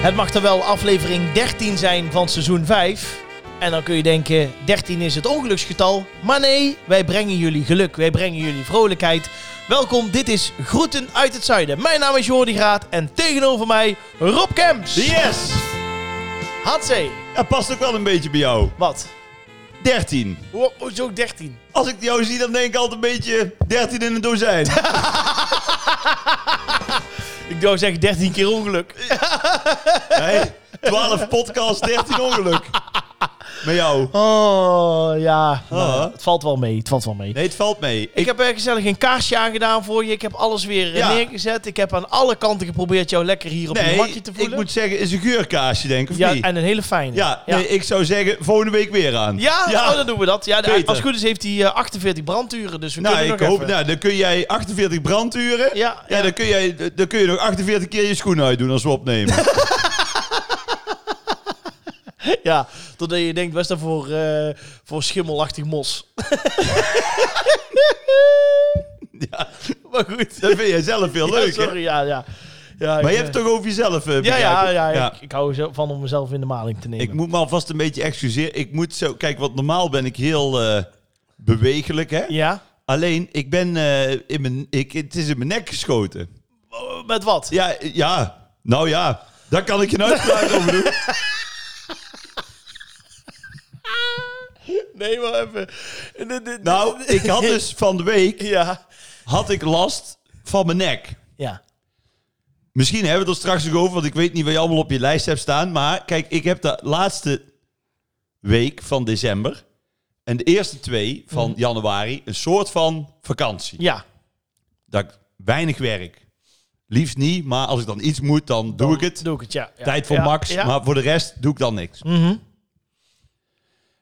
Het mag er wel aflevering 13 zijn van seizoen 5. En dan kun je denken, 13 is het ongeluksgetal. Maar nee, wij brengen jullie geluk, wij brengen jullie vrolijkheid. Welkom, dit is Groeten uit het Zuiden. Mijn naam is Jordi Graat en tegenover mij Rob Kemps. Yes! Hatsé, Dat past ook wel een beetje bij jou. wat? 13. Ho- Hoezo 13? Als ik jou zie, dan denk ik altijd een beetje 13 in een dozijn. Ik zou zeggen 13 keer ongeluk. Nee, 12 podcasts, 13 ongeluk. Met jou. Oh, ja. Ah. het valt wel mee, het valt wel mee. Nee, het valt mee. Ik heb er gezellig een kaarsje aangedaan voor je. Ik heb alles weer eh, Ja. neergezet. Ik heb aan alle kanten geprobeerd jou lekker hier op je nee, matje te voelen. ik moet zeggen, is een geurkaasje, denk ik, of ja, niet? en een hele fijne. Ja, ja. Nee, ik zou zeggen, volgende week weer aan. Ja? Oh, dan doen we dat. Ja, de- Beter. als het goed is heeft hij eh, 48 branduren, dus we Nou, kunnen ik nog hoop, even. nou, dan kun jij 48 branduren. Ja, ja. Dan, kun jij, dan kun je nog 48 keer je schoen uitdoen als we opnemen. Ja, totdat je denkt, wat is dat voor, eh, voor schimmelachtig mos? ja, maar goed. dat vind jij zelf veel leuk, ja, hè? sorry, ja, ja. ja ik, Maar je eh, hebt het toch over jezelf, eh, Ja, begrijp ja, ik? ja, Ik, ik hou er zo van om mezelf in de maling te nemen. Ik moet me alvast een beetje excuseren. Ik moet zo... Kijk, want normaal ben ik heel eh, bewegelijk, hè? Ja? Alleen, ik ben... eh, in mijn, ik, het is in mijn nek geschoten. Oh, Met wat? Ja, ja. Nou ja, daar kan ik je uitspraak over doen. Nee, maar even. Dit- dit- Nou, ik had dus van de week Ja. had ik last van mijn nek. Ja. Misschien hebben we het er straks nog over, want ik weet niet wat je allemaal op je lijst hebt staan. Maar kijk, ik heb de laatste week van december en de eerste twee van januari een soort van vakantie. Ja. dat ik weinig werk. Liefst niet, maar als ik dan iets moet, dan, doe ik het. Doe ik het, ja. Ja. Tijd voor Ja, max, ja. maar voor de rest doe ik dan niks. Mhm.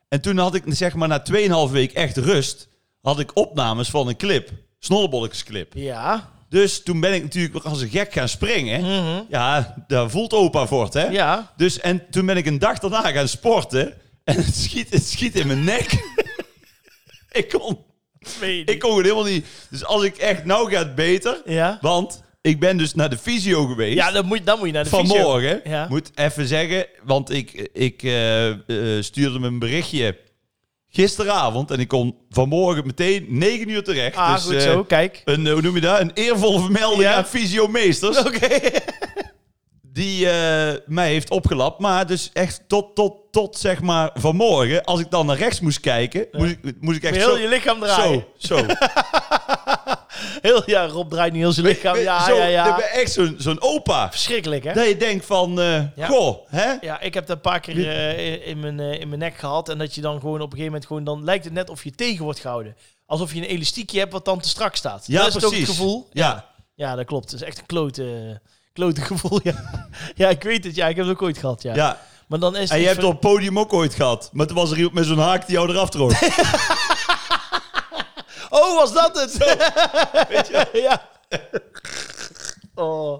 En toen had ik, zeg maar, na 2,5 week echt rust, had ik opnames van een clip. Snollebolksclip. Ja. Dus toen ben ik natuurlijk weer als een gek gaan springen. Mhm. Ja, daar voelt opa voor het, hè? Ja. Dus, en toen ben ik een dag daarna gaan sporten. En het schiet, het schiet in mijn nek. ik, kon, ik kon het helemaal niet. Dus als ik echt, nou gaat het beter. Ja. Want ik ben dus naar de fysio geweest. Ja, dan moet, dan moet je naar de fysio. vanmorgen. Ja. Moet even zeggen, want ik, ik eh, eh, stuurde me een berichtje gisteravond. En ik kom vanmorgen meteen 9 uur terecht. Ah, dus, goed eh, zo. Kijk. Een, eh, hoe noem je dat? Een eervolle vermelding Ja. aan fysiomeesters. Oké. Die eh, mij heeft opgelapt. Maar dus echt tot, tot, tot zeg maar vanmorgen. Als ik dan naar rechts moest kijken, moest, ik, moest ik echt Heel zo... je lichaam draaien. zo, zo. Heel, ja, Rob draait nu heel zijn lichaam. Ja, zo, ja, Ik ja. ben echt zo'n zo'n opa. Verschrikkelijk, hè? Dat je denkt van, eh, Ja. goh, hè? Ja, ik heb dat een paar keer eh, in, mijn, eh, in mijn nek gehad. En dat je dan gewoon op een gegeven moment gewoon... Dan lijkt het net of je tegen wordt gehouden. Alsof je een elastiekje hebt wat dan te strak staat. Ja, dat is precies. ook het gevoel. Ja. Ja, dat klopt. Het is echt een klote, klote gevoel. Ja. ja, ik weet het. Ja, ik heb het ook ooit gehad. Ja. ja. Maar dan is En het je hebt het ver- op het podium ook ooit gehad. Maar toen was er iemand met zo'n haak die jou eraf trok. Oh, was dat het? Weet je? ja. Oh.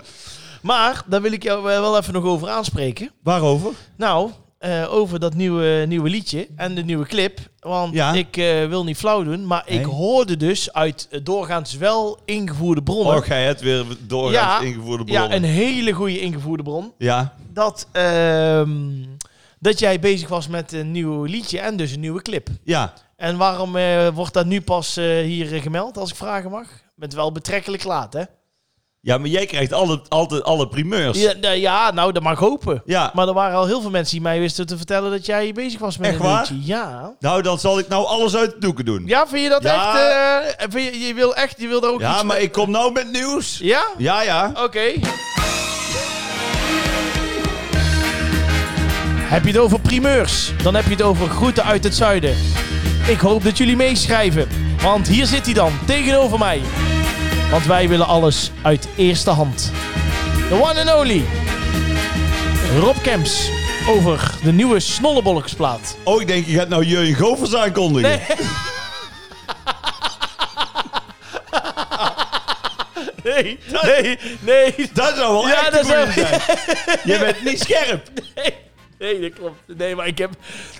Maar, daar wil ik jou eh, wel even nog over aanspreken. Waarover? Nou, eh, over dat nieuwe, nieuwe liedje en de nieuwe clip. Want Ja. ik eh, wil niet flauw doen, maar ik Nee. hoorde dus uit eh, doorgaans wel ingevoerde bronnen. Oh, ga je het weer doorgaans ingevoerde ja, bronnen. een hele goede ingevoerde bron. Ja. Dat, ehm, dat jij bezig was met een nieuw liedje en dus een nieuwe clip. ja. En waarom eh, wordt dat nu pas eh, hier eh, gemeld, als ik vragen mag? Met wel betrekkelijk laat, hè? Ja, maar jij krijgt alle, altijd alle primeurs. Ja, nou, ja, nou, dat mag ik hopen. Ja. Maar er waren al heel veel mensen die mij wisten te vertellen dat jij bezig was met Echt een waar? liedje. Ja. Nou, dan zal ik nou alles uit de doeken doen. Ja, vind je dat Ja. echt? eh, vind je, je wil echt, je wil daar ook Ja, iets maar mee- ik kom nou met nieuws. Ja? Ja, ja. Oké. Heb je het over primeurs? Dan heb je het over groeten uit het zuiden. Ik hoop dat jullie meeschrijven, want hier zit hij dan tegenover mij. Want wij willen alles uit eerste hand. The one and only Rob Kemps over de nieuwe Snollebolksplaat. Oh, ik denk, je gaat nou Jurjen Govers aankondigen. Nee. Nee, nee, nee. Dat zou wel Ja, echt dat een zou- goeie zijn. Je bent niet scherp. Nee, nee, dat klopt. Nee, maar ik, heb,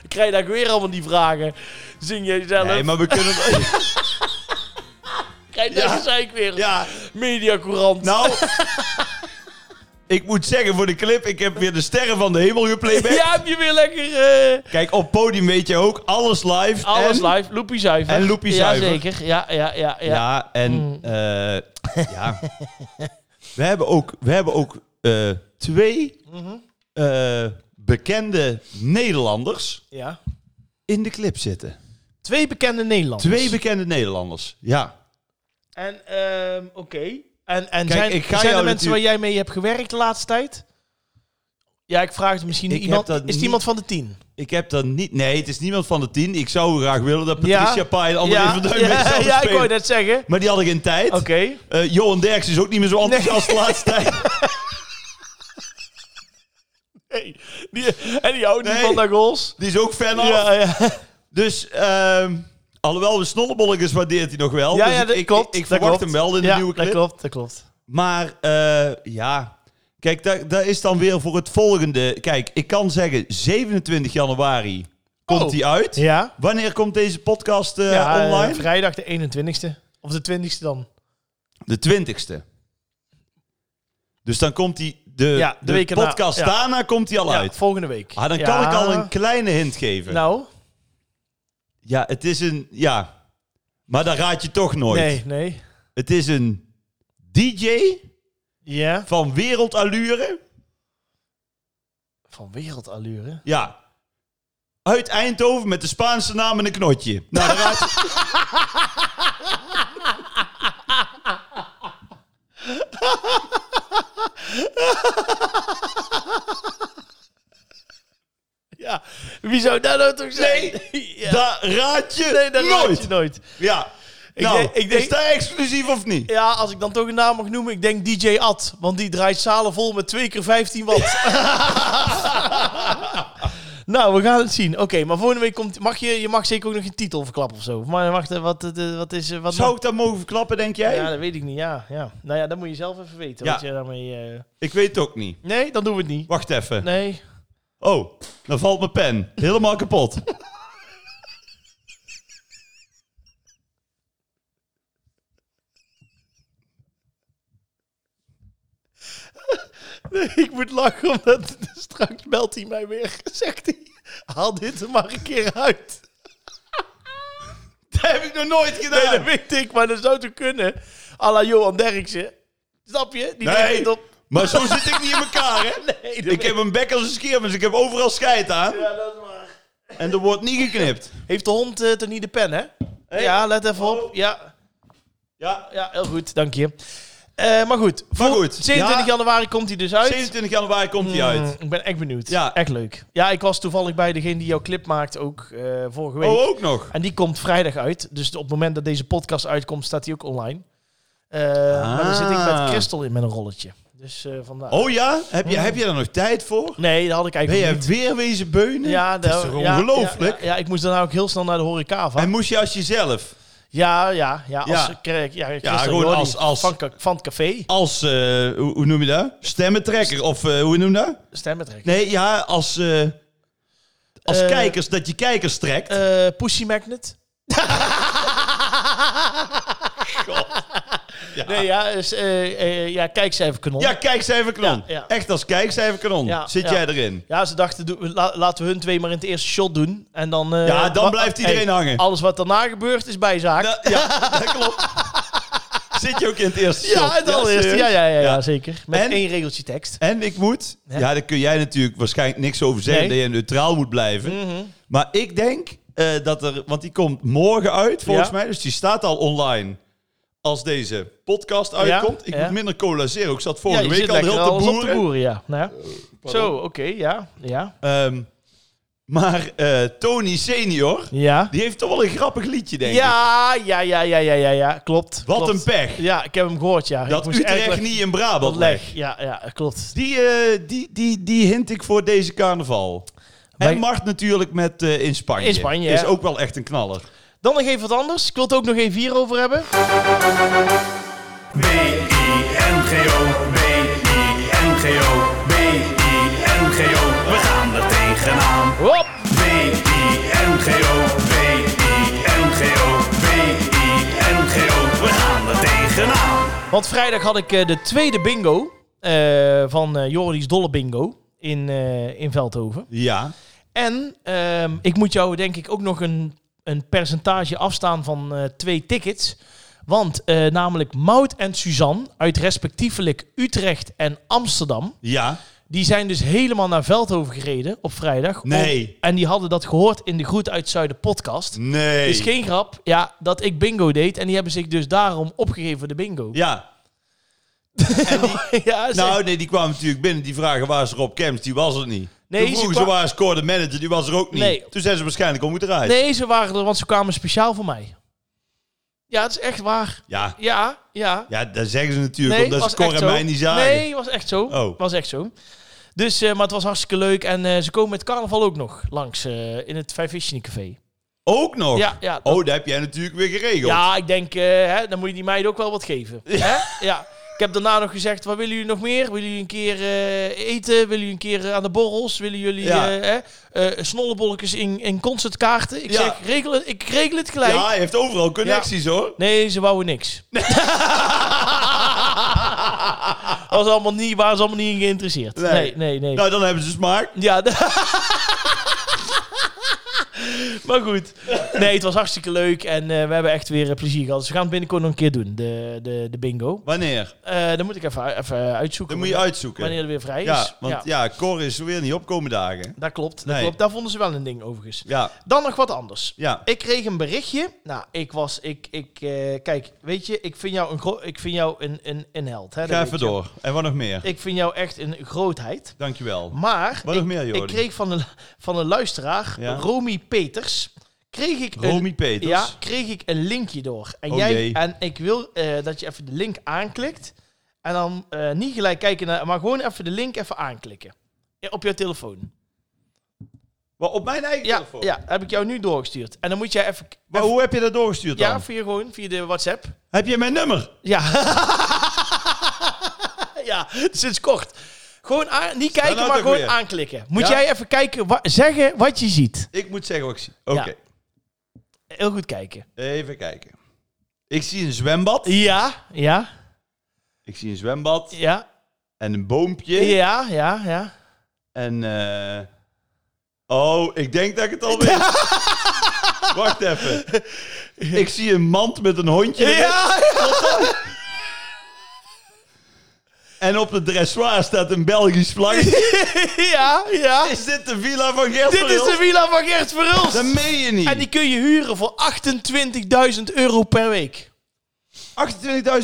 ik krijg daar weer allemaal die vragen. Zing jij zelf? Nee, maar we kunnen... Krijg daar Ja. zei ik weer. Ja, Mediacourant. nou... Ik moet zeggen voor de clip, ik heb weer de sterren van de hemel geplayback. Ja, heb je weer lekker... eh, Kijk, op podium weet je ook, alles live. alles en, live. Loepie zuiver. En Loepie zuiver. Jazeker. Ja, ja, ja. Ja, ja. Mm. en eh, ja. We hebben ook, we hebben ook eh, twee Mhm. eh, bekende Nederlanders ja. in de clip zitten. Twee bekende Nederlanders. Twee bekende Nederlanders, ja. En, ehm, oké. En, en Kijk, zijn, ik ga zijn er mensen jou natuurlijk- waar jij mee hebt gewerkt de laatste tijd? Ja, ik vraag het misschien Ik iemand. heb Is dat het niet- Oh, iemand van de tien? Ik heb dan niet... Nee, het is niemand van de tien. Ik zou graag willen dat Ja. Patricia Pai en André van Duin mee ja, zouden ja, ik spelen. wou dat zeggen. Oké. Maar die hadden geen tijd. Eh, Johan Derks is ook niet meer zo enthousiast de laatste tijd. Hey, die- en die houdt niet Nee. van de goals. Die is ook fan af. Ja, ja. Dus, ehm, alhoewel de snollebolletjes waardeert hij nog wel. ja, Dus ja, ik- dat ik, klopt. Ik, ik dat verwacht klopt. hem wel in de Ja, nieuwe clip. dat klopt, dat klopt. Maar eh, ja, kijk, daar, daar is dan weer voor het volgende. Kijk, ik kan zeggen 27 januari komt Oh. hij uit. Ja, Wanneer komt deze podcast eh, ja, eh, online? vrijdag de 21ste. Of de 20ste dan. de 20ste. Dus dan komt hij, de, Ja, de de, week erna. podcast Ja. daarna komt hij al Ja, uit. volgende week. Ah, dan Ja. kan ik al een kleine hint geven. Nou, Ja, het is een, ja. Maar dat raad je toch nooit. nee, nee. Het is een DJ Ja, van wereldallure. van wereldallure. Ja. Uit Eindhoven met de Spaanse naam en een knotje. Nou, dan raad je- Ja, wie zou daar nou toch zijn? ja. dat raad je nee, dat raad nooit. je nooit. Ja. nou, denk- ik denk- is dat exclusief of niet? Ja, als ik dan toch een naam mag noemen, ik denk DJ Ad. Want die draait zalen vol met 2 keer 15 watt. nou, we gaan het zien. Oké, maar volgende week komt... Mag je, je mag zeker ook nog een titel verklappen of zo. Maar wacht, eh, wat, eh, wat is... eh, Wat Zou ik dat mogen verklappen, denk jij? Ja, dat weet ik niet. Ja, ja. Nou ja, dat moet je zelf even weten. Ja. Wat je daarmee, eh, Ik weet het ook niet. Nee, dan doen we het niet. Wacht even. Nee. Oh, dan valt mijn pen. Helemaal kapot. Nee, ik moet lachen, omdat straks belt hij mij weer. Zegt hij, haal dit er maar een keer uit. dat heb ik nog nooit Nee, gedaan. dat weet ik, maar dat zou toch kunnen? À la Johan Derksen. Snap je? Die Nee. neemt het op. Maar zo zit ik niet in elkaar, hè? Nee, dat Ik heb een bek als een scheer, dus ik heb overal scheid aan. Ja, dat is waar. En er wordt niet geknipt. Heeft de hond eh, toch niet de pen, hè? Ja, let even op. Oh. Ja, Ja, ja, heel goed. Dank je. Eh, maar goed. Maar Vol- goed, 27 ja. januari komt hij dus uit. 27 januari komt hij Mm, uit. ik ben echt benieuwd. Ja. Echt leuk. Ja, ik was toevallig bij degene die jouw clip maakt ook eh, vorige week. Oh, ook nog. En die komt vrijdag uit. Dus op het moment dat deze podcast uitkomt, staat die ook online. Eh, Maar dan zit ik met Ah. Christel in met een rolletje. Dus eh vandaag. Oh ja? Heb je, heb je daar nog tijd voor? Nee, dat had ik Ben eigenlijk jij Hmm. niet. weer wezen beunen? Ja, dat is nou, toch ja, ongelooflijk? Ja, ja, ik moest daarna ook heel snel naar de horecava. En moest je als jezelf, Ja, ja, ja. Als, Ja. ik kreeg- ja, Ja, ja gewoon als- als- Van, ka- van het café. als, eh, hoe, hoe noem je dat? Stemmentrekker of eh, hoe noem je dat? Stemmetrekker. Nee, ja, als, eh, als Eh, kijkers, dat je kijkers trekt. Eh, Pussy Magnet. ja. Nee, ja, is, eh, eh, ja kijkcijferkanon. ja, kijkcijferkanon. Ja, ja. Echt als kijkcijferkanon Ja, zit ja. jij erin. Ja, ze dachten, doe- la- laten we hun twee maar in het eerste shot doen. En dan, eh, Ja, dan wa- blijft iedereen hangen. Alles wat daarna gebeurt is bijzaak. Ja, ja, dat klopt. Zit je ook in het eerste shot? ja, het allereerste. serieus? Ja, ja, ja, ja, eh. Ja. zeker. Met En- één regeltje tekst. En ik moet, Ja. ja, daar kun jij natuurlijk waarschijnlijk niks over zeggen, Nee. dat je neutraal moet blijven. Mhm. Maar ik denk eh, dat er, want die komt morgen uit volgens Ja. mij, dus die staat al online als deze podcast uitkomt. ik ja. moet minder cola zero, ik zat Ja, vorige je week zit al lekker heel te alles op boeren. Eh, te boeren, ja. Nou, ja. Zo, oké, ja, ja, Ehm, maar eh, Tony senior, ja. die heeft toch wel een grappig liedje denk ik. Ja, ja, ja, ja, ja, ja, ja, klopt. Wat klopt. een pech, Ja, ik heb hem gehoord, ja. ik dat moest Utrecht eigenlijk niet in Brabant wat legt. leg. Ja, ja, klopt. Die, eh, die, die, die hint ik voor deze carnaval. Wij- En Mart natuurlijk met eh, In Spanje. In Spanje, Is hè? ook wel echt een knaller. Dan nog even wat anders. Ik wil het ook nog even hierover hebben. B-I-N-G-O, B-I-N-G-O, B-I-N-G-O, we gaan er tegenaan. Hop! B-I-N-G-O, B-I-N-G-O, B-I-N-G-O, we gaan er tegenaan. Want vrijdag had ik eh, de tweede bingo. Eh, eh, van eh, Joris Dolle Bingo in, eh, in Veldhoven. Ja. En ehm, ik moet jou denk ik ook nog een, een percentage afstaan van eh, twee tickets. Want eh, namelijk Maud en Suzanne uit respectievelijk Utrecht en Amsterdam... Ja. Die zijn dus helemaal naar Veldhoven gereden op vrijdag. om- Nee. en die hadden dat gehoord in de Groet uit Zuiden podcast. Nee. Is geen grap, ja, dat ik bingo deed. En die hebben zich dus daarom opgegeven voor de bingo. Ja. Ja, ze- Nou, nee, die kwamen natuurlijk binnen. Die vragen waar is Rob Kemps? Die was er niet. Nee, Toen ze vroegen ze, kwa- waar is Cor de manager? Die was er ook niet. Nee. Toen zijn ze waarschijnlijk omgedraaid. nee, ze waren er, want ze kwamen speciaal voor mij. Ja, het is echt waar. Ja. Ja, ja. ja, dat zeggen ze natuurlijk Nee, omdat was ze Cor echt en zo. mij niet zagen. Nee, was echt zo. Oh. Was echt zo. Dus, eh, maar het was hartstikke leuk. En eh, ze komen met carnaval ook nog langs eh, in het Vijf Vissingen Café. Ook nog? Ja, ja, Oh, dat heb jij natuurlijk weer geregeld. Ja, ik denk, eh, hè, dan moet je die meiden ook wel wat geven. Hè? Ja. Ik heb daarna nog gezegd, wat willen jullie nog meer? Willen jullie een keer eh, eten? Willen jullie een keer eh, aan de borrels? Willen jullie Ja. eh, hè, eh, snollebolletjes in, in concertkaarten? Ik Ja. zeg, regel het, ik regel het gelijk. Ja, hij heeft overal connecties hoor. Nee, ze wouden niks. Dat was allemaal niet, waren ze allemaal niet in geïnteresseerd. Nee. Nee, nee, nee. Nou, dan hebben ze smaak. Ja. d- maar goed. Nee, het was hartstikke leuk. En eh, we hebben echt weer eh, plezier gehad. Dus we gaan het binnenkort nog een keer doen, de, de, de bingo. Wanneer? Eh dan moet ik even, even uitzoeken. Dan moet je uitzoeken. Wanneer er weer vrij is. Ja, want ja. Cor is weer niet opkomen dagen. Dat klopt, dat Nee. klopt. Daar vonden ze wel een ding overigens. Ja, Dan nog wat anders. ja. Ik kreeg een berichtje. Nou, ik was, ik, ik, eh, kijk, weet je, ik vind jou een, gro- ik vind jou een, een, een held. Hè, dat Ga weet even je. door. En wat nog meer? Ik vind jou echt een grootheid. Dankjewel. Maar Wat ik, nog meer, Jordi? ik kreeg van een, van een luisteraar, Ja? Romy Peters, kreeg ik een, Romy Peters. ja, kreeg ik een linkje door. En, Oh, jij, jee. en ik wil eh, dat je even de link aanklikt. En dan eh, niet gelijk kijken naar, maar gewoon even de link even aanklikken. Ja, Op jouw telefoon. Maar op mijn eigen Ja, telefoon. ja, heb ik jou nu doorgestuurd. En dan moet jij even. Maar hoe heb je dat doorgestuurd dan? Ja, via gewoon, via de WhatsApp. Heb je mijn nummer? Ja. ja, sinds kort. Gewoon aan- niet kijken, nou maar toch gewoon weer. aanklikken. Moet Ja? jij even kijken, wa- zeggen wat je ziet. Ik moet zeggen wat ik zie. Oké, Ja. Heel goed kijken. even kijken. Ik zie een zwembad. Ja, ja, Ik zie een zwembad ja, en een boompje. ja, ja, ja. En eh. Oh, ik denk dat ik het al weet. Wacht even. Ik zie een mand met een hondje. erin. Ja, En op de dressoir staat een Belgisch vlaggetje. ja, ja. Is dit de villa van Gert Dit is de villa van Gert Verhulst. Dat meen je niet. En die kun je huren voor 28.000 euro per week. 28.000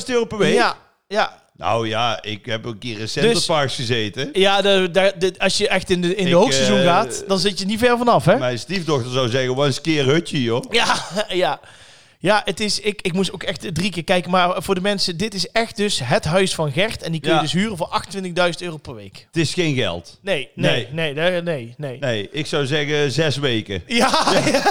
euro per week? Ja, ja. Nou ja, ik heb ook hier in Centerparks gezeten. Ja, de, de- de- als je echt in de, in de Ik, hoogseizoen eh, gaat, dan zit je niet ver vanaf, hè? Mijn stiefdochter zou zeggen, was een keer hutje, joh. Ja, ja. Ja, het is, ik, ik moest ook echt drie keer kijken. Maar voor de mensen, dit is echt dus het huis van Gert. En die kun je Ja. dus huren voor 28.000 euro per week. Het is geen geld. Nee, Nee. nee, nee, nee, nee. nee. Nee, ik zou zeggen zes weken. Ja, ja.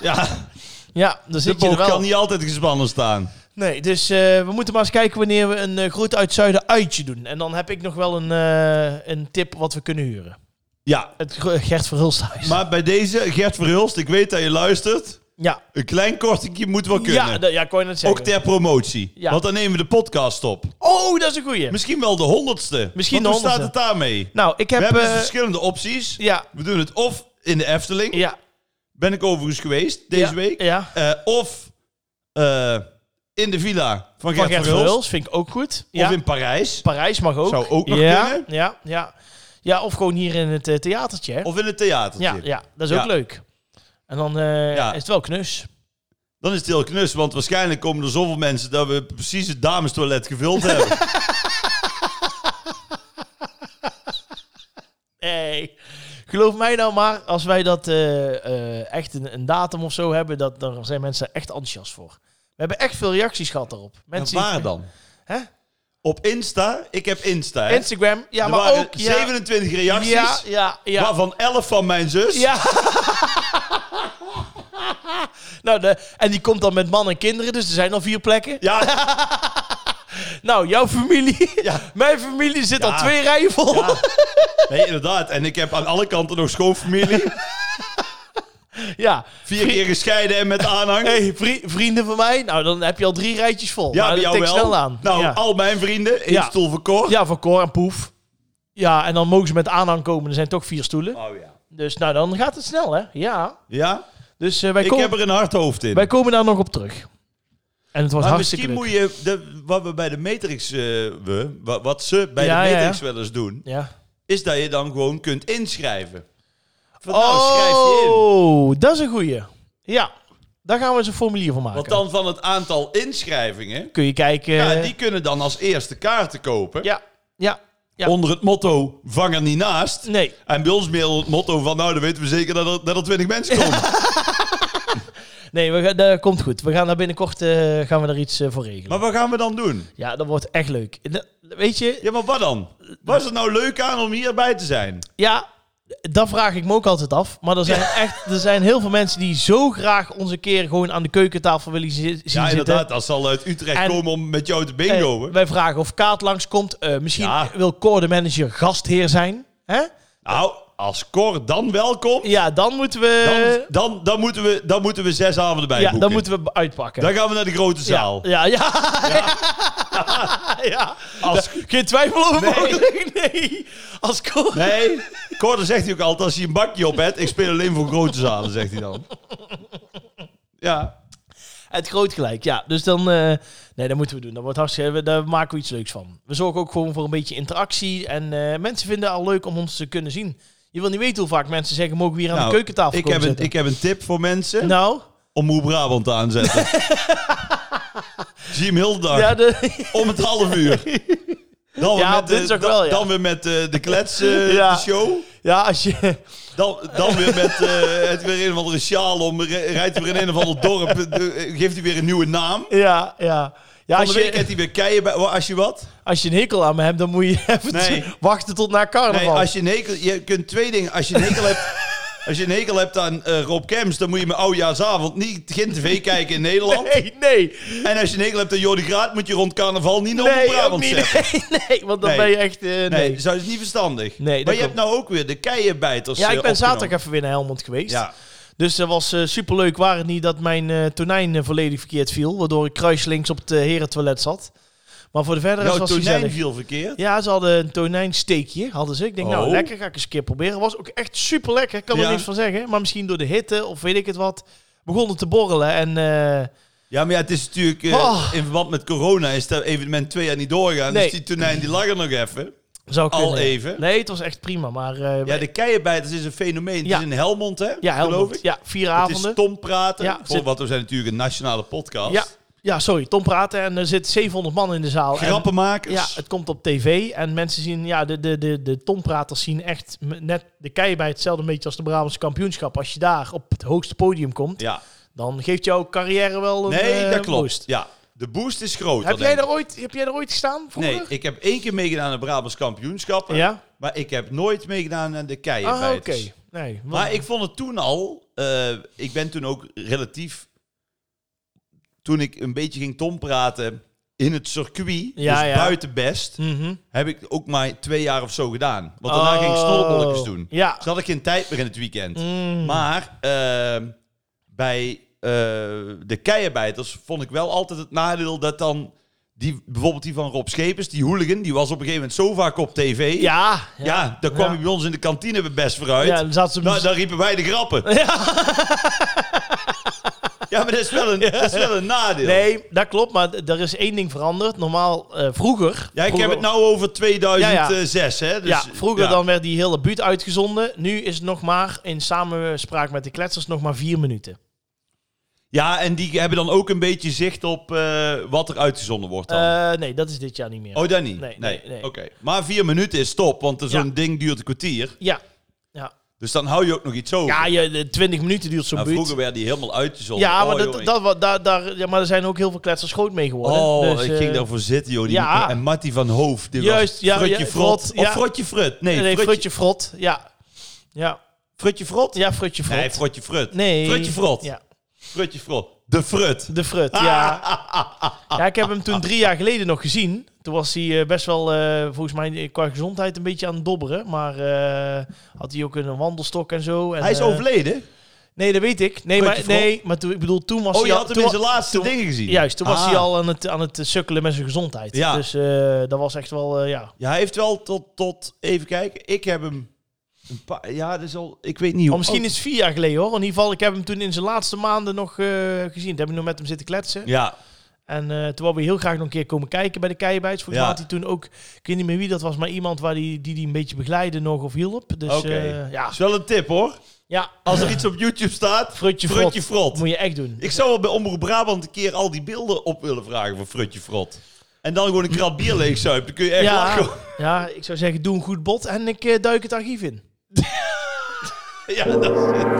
Ja, ja, dan de zit je er boog wel. kan niet altijd gespannen staan. Nee, dus eh, we moeten maar eens kijken wanneer we een eh groet uit Zuiden uitje doen. En dan heb ik nog wel een, eh, een tip wat we kunnen huren. Ja, Het Gro- Gert Verhulsthuis. maar bij deze, Gert Verhulst, ik weet dat je luistert. ja. Een klein kortingje moet wel kunnen. Ja, dat- ja, kon je net zeggen. Ook ter promotie. Ja. Want dan nemen we de podcast op. oh, dat is een goeie. Misschien wel de honderdste. Misschien Want de hoe staat het honderdste. daarmee? Nou, ik heb... we hebben dus eh, verschillende opties. ja, We doen het of in de Efteling. ja, Ben ik overigens geweest deze ja, week. Ja, Eh, of eh, in de villa van van Gert, Gert Verhulst. Verhulst vind ik ook goed. Ja. Of in Parijs. Parijs mag ook. Zou ook nog ja, kunnen. Ja, ja. ja, of gewoon hier in het eh, theatertje. Hè? Of in het theatertje. ja, ja, dat is ook Ja. leuk. En dan eh, Ja. is het wel knus. Dan is het heel knus, want waarschijnlijk komen er zoveel mensen dat we precies het damestoilet gevuld hebben. Hey. Geloof mij nou maar, als wij dat eh, eh, echt een, een datum of zo hebben, dat, dan zijn mensen echt enthousiast voor. We hebben echt veel reacties gehad daarop. En Mensen waar dan? Hè? Op Insta, ik heb Insta. hè. Instagram, ja, er maar waren ook... Ja, 27 reacties, ja, ja, ja. waarvan 11 van mijn zus. Ja. nou, de, en die komt dan met man en kinderen, dus er zijn al vier plekken. Ja, Nou, jouw familie. Ja. Mijn familie zit Ja. al twee rijen vol. ja. Nee, inderdaad. En ik heb aan alle kanten nog schoonfamilie. ja. Vier keer gescheiden en met aanhang. Hey, vri- vrienden van mij, nou dan heb je al drie rijtjes vol. ja, maar bij dat jou tikt wel. snel aan. Nou, ja. al mijn vrienden. één Ja. stoel verkocht. ja, van Cor en Poef. Ja, en dan mogen ze met aanhang komen. Er zijn toch vier stoelen. Oh ja. Dus nou, dan gaat het snel, hè? Ja. Ja? Dus eh, wij, Ik komen- heb er een hard hoofd in. wij komen daar nog op terug. En het was Maar hartstikke misschien leuk. moet je, de, wat we bij de Matrix, eh, we, wa- wat ze bij Ja, de ja, Matrix ja. wel eens doen, Ja. is dat je dan gewoon kunt inschrijven. Van, nou, schrijf je in. Oh, dat is een goeie. Ja, daar gaan we eens een formulier van maken. Want dan van het aantal inschrijvingen, kun je kijken. ja, die kunnen dan als eerste kaarten kopen. ja, ja, ja. Onder het motto, vang er niet naast. Nee. En bij ons meer het motto van, nou dan weten we zeker dat er, dat er 20 mensen komen. Nee, we gaan, dat komt goed. We gaan daar binnenkort eh, gaan we daar iets eh, voor regelen. maar wat gaan we dan doen? Ja, dat wordt echt leuk. Dat- Weet je, Ja, maar wat dan? Was het nou leuk aan om hierbij te zijn? ja, dat vraag ik me ook altijd af. Maar er zijn echt er zijn heel veel mensen die zo graag onze keer gewoon aan de keukentafel willen zi- zien Ja, zitten. inderdaad. Dat zal uit Utrecht En- komen om met jou te Eh, bingoen. wij vragen of Kaat langskomt. Eh misschien Ja. wil Cor de manager gastheer zijn. Hè? Nou, als Cor dan wel komt, Ja, dan moeten we... dan, dan, dan, moeten we, dan moeten we zes avonden bij Eh. ja, boeken. dan moeten we uitpakken. Dan gaan we naar de grote zaal. Ja, ja. ja. ja. Als, Geen twijfel over Nee. mogelijk. Nee. Als Cor... nee, Cor dan zegt hij ook altijd, als je een bakje op hebt, ik speel alleen voor grote zalen, zegt hij dan. Ja, Het groot gelijk, ja. Dus dan... eh, nee, dat moeten we doen. Dat wordt hartstikke... Daar maken we iets leuks van. We zorgen ook gewoon voor een beetje interactie. En eh, mensen vinden het al leuk om ons te kunnen zien. Je wil niet weten hoe vaak mensen zeggen... Mogen we hier aan Nou, de keukentafel ik komen heb, een, zitten? ik heb een tip voor mensen Nou... om hoe Brabant te aanzetten. Zie hem heel de dag, Ja, de... om het half uur. Dan weer Ja, met op de- dinsdag dan- wel, ja. Dan weer met eh, de klets eh, Ja. de show. Ja, als je... Dan, dan weer met eh, het weer een of andere sjaal om, re- rijdt weer in een of ander dorp, eh, geeft hij weer een nieuwe naam. Ja, ja. Ja, Van als de week heeft je, hij weer keien bij, als je wat? als je een hekel aan me hebt, dan moet je even Nee. wachten tot na carnaval. Nee, als je een hekel, je kunt twee dingen. Als je een hekel hebt, als je een hekel hebt aan eh, Rob Kems, dan moet je met oudjaarsavond niet, geen tv kijken in Nederland. Nee, nee. En als je een hekel hebt aan Jordi Graat, moet je rond carnaval niet naar Nee, nee, ook Brabant niet. zetten. Nee, nee, want dan Nee. ben je echt... eh, Nee, nee. dat is niet Nee, verstandig. dat maar je klopt. hebt nou ook weer de keienbijters Ja, eh, ik ben opgenomen. zaterdag even weer naar Helmond geweest. Ja, Dus dat was eh, superleuk. Waar het niet dat mijn eh, tonijn eh, volledig verkeerd viel. Waardoor ik kruislinks op het eh, herentoilet zat. Maar voor de verdere rest jouw was tonijn gezellig. viel verkeerd. Ja, ze hadden een tonijnsteekje, hadden ze. Ik denk, nou, Oh. lekker, ga ik eens een keer proberen. Was ook echt super lekker, kan er Ja. niks van zeggen. Maar misschien door de hitte of weet ik het wat, begon het te borrelen. En eh, Ja, maar ja, het is natuurlijk... eh, Oh. In verband met corona is dat evenement twee jaar niet doorgaan. Nee. Dus die tonijn die lag er nog even. zou Al kunnen. even. Nee, het was echt prima, maar... eh, Ja, de keienbijters is een fenomeen. Ja. Het is in Helmond, hè? ja, Helmond. Geloof ik. Ja, vier Het is avonden. stom praten. Ja, voor, zit- Want we zijn natuurlijk een nationale podcast. Ja, ja, sorry, Tom praten en er zit 700 man in de zaal. En, Grappenmakers. ja, het komt op tv en mensen zien, ja, de, de, de, de tompraters zien echt m- net de kei bij hetzelfde beetje als de Brabantse kampioenschap. Als je daar op het hoogste podium komt, Ja. dan geeft jouw carrière wel een Nee, eh, dat klopt. boost. Ja. De boost is groot. Heb dat jij, denk daar ooit, heb jij daar ooit gestaan ik. vroeger? Nee, ik heb één keer meegedaan aan de Brabants kampioenschappen. Ja? Maar ik heb nooit meegedaan aan de Ah, oké. keienbijters. Nee. Maar ik vond het toen al... eh, ik ben toen ook relatief... Toen ik een beetje ging tompraten in het circuit, Ja, dus ja. buiten best, Mhm. heb ik ook maar twee jaar of zo gedaan. Want daarna ging ik snorkelletjes Oh. doen. Ja. Dus had ik geen tijd meer in het weekend. Mm. Maar ehm, bij eh, de keienbijters vond ik wel altijd het nadeel dat dan... Die, bijvoorbeeld die van Rob Schepers, die hooligan, die was op een gegeven moment zo vaak op tv. Ja. Ja, daar kwam Ja. hij bij ons in de kantine best vooruit. Ja, dan zaten ze... Nou, dan riepen wij de grappen. Ja, maar dat is, wel een, dat is wel een nadeel. nee, dat klopt, maar d- er is één ding veranderd. Normaal, eh, vroeger... Ja, ik vroeger- heb het nou over 2006, hè. Dus, ja, vroeger ja. dan werd die hele buurt uitgezonden. Nu is het nog maar, in samenspraak met de kletsers, nog maar vier minuten. Ja, en die hebben dan ook een beetje zicht op eh, wat er uitgezonden wordt dan. Eh, nee, dat is dit jaar niet meer. oh, dat niet? nee, Nee. nee, nee. Oké. Maar vier minuten is top, want zo'n Ja. ding duurt een kwartier. Ja. Ja, Dus dan hou je ook nog iets over. ja je, de 20 minuten duurt zo'n Nou, buurt. vroeger werd die helemaal uitgezonden. Ja, Oh, maar, dat, jongen. dat, wa- daar, daar, ja, maar er zijn ook heel veel kletsers groot mee geworden. Oh, Dus, ik eh, ging daarvoor zitten, joh. Die ja. En Mattie van Hoofd, die Juist, was ja, Frutje ja, Frot. Frot, Of ja. Frotje Frut. Nee, Nee, nee, Frutje, Frutje Frot. Ja. Ja. Frutje Frot? Ja, Frutje Frot. Nee, Frotje Frut. Nee. Frutje Frot. Ja. Frutje Frot. De Frut. De Frut, ja. ja. Ik heb hem toen drie jaar geleden nog gezien. Toen was hij eh, best wel, eh, volgens mij, eh, qua gezondheid een beetje aan het dobberen. Maar eh, had hij ook een wandelstok en zo. En, Hij is eh, overleden. Nee, dat weet ik. Nee, maar, Puntje voor. nee, maar toen, ik bedoel, toen was Oh, hij je al... had hem toen in wa- zijn laatste toen- dingen gezien. Juist, toen was Ah. hij al aan het, aan het eh, sukkelen met zijn gezondheid. Ja. Dus eh, dat was echt wel, eh, ja... Ja, hij heeft wel tot, tot even kijken. Ik heb hem een paar, ja, dat is al, ik weet niet hoe. Oh. Maar Oh, misschien oud- is het vier jaar geleden hoor. In ieder geval, ik heb hem toen in zijn laatste maanden nog eh, gezien. Toen heb ik nog met hem zitten kletsen. Ja, En eh toen wou we heel graag nog een keer komen kijken bij de Keibijts. Volgens mij Ja. had hij toen ook, ik weet niet meer wie dat was, maar iemand waar die, die, die een beetje begeleidde nog of hielp. Dus oké. eh, ja. Is wel een tip hoor. ja, Als er iets op YouTube staat, Frutje Frot. Frutje Frot. moet je echt doen. Ik zou wel bij Omroep Brabant een keer al die beelden op willen vragen van Frutje Frot. En dan gewoon een krat bier leegzuipen. Dan kun je echt Ja, lachen. ja, ik zou zeggen, doe een goed bod en ik eh, duik het archief in. Ja, dat is het.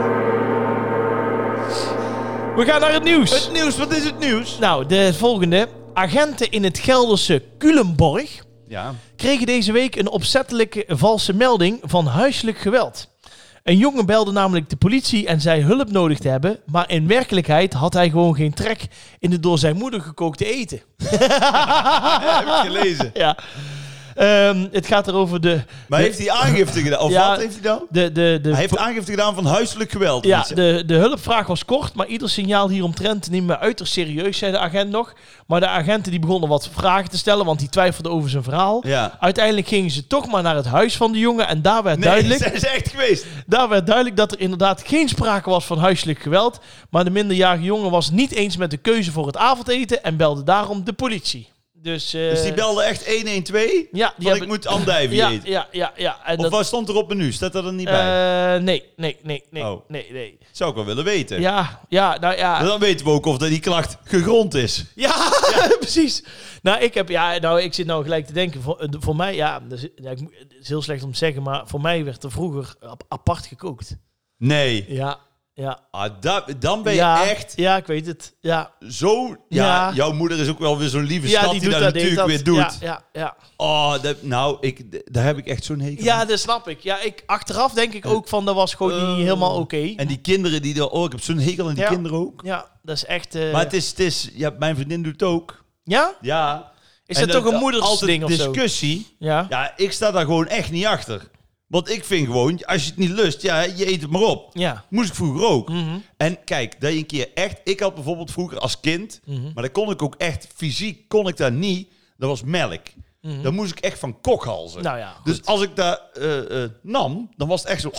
We gaan naar het nieuws. Het nieuws, wat is het nieuws? Nou, de volgende. Agenten in het Gelderse Culemborg Ja. kregen deze week een opzettelijke valse melding van huiselijk geweld. Een jongen belde namelijk de politie en zei hulp nodig te hebben, maar in werkelijkheid had hij gewoon geen trek in het door zijn moeder gekookte eten. heb ik gelezen. Ja. Ehm, het gaat erover de, Maar heeft hij aangifte gedaan? Of Ja. wat heeft hij dan? de, de, de, Hij heeft aangifte gedaan van huiselijk geweld. Ja, dus Want ze- de, de hulpvraag was kort, maar ieder signaal hieromtrent nemen we uiterst serieus, zei de agent nog. Maar de agenten die begonnen wat vragen te stellen, want die twijfelden over zijn verhaal. ja. Uiteindelijk gingen ze toch maar naar het huis van de jongen en daar werd, Nee, duidelijk, zijn ze echt geweest? daar werd duidelijk dat er inderdaad geen sprake was van huiselijk geweld. Maar de minderjarige jongen was niet eens met de keuze voor het avondeten en belde daarom de politie. Dus, eh, Dus die belde echt 112? Ja, die want ik hebben- moet andijvie Ja, eten. ja, ja. ja. En Of dat, wat stond er op menu? Staat dat er niet bij? eh, nee, nee, nee, nee, Oh. nee, nee. Zou ik wel willen weten. Ja, ja, nou ja. Maar Dan weten we ook of dat die klacht gegrond is. Ja, precies. Nou, ik heb, ja, nou, ik zit nou gelijk te denken. Voor, eh, voor mij, ja, dus, ja, ik moet- het is heel slecht om te zeggen, maar voor mij werd er vroeger ap- apart gekookt. Nee. Ja, ja. Ah, dat- dan ben je ja, echt Ja, ik weet het. Ja, zo... Ja, Ja. jouw moeder is ook wel weer zo'n lieve ja Dus schat die, dat deed natuurlijk weer doet. Ja, ja, ja. Oh, dat, nou, ik, d- daar heb ik echt zo'n hekel ja, aan. dat snap ik. Ja, ik. Achteraf denk ik ook van, dat was gewoon Eh. niet helemaal oké. En die kinderen die er... Oh, ik heb zo'n hekel aan die Ja. kinderen ook. Ja, dat is echt... eh, Maar het is... Het is ja, mijn vriendin doet het ook. ja? Ja. Is En dat toch een altijd moedersding of zo? discussie. Ja. ja. Ja, ik sta daar gewoon echt niet achter. Want ik vind gewoon, als je het niet lust, ja, je eet het maar op. Moest ik vroeger ook. Mhm. En kijk, dat je een keer echt... Ik had bijvoorbeeld vroeger als kind, Mhm. maar dat kon ik ook echt fysiek, kon ik daar niet. Dat was melk. Dan moest ik echt van kokhalzen. Mhm. Nou ja, goed. dus als ik daar eh, eh, nam, dan was het echt zo...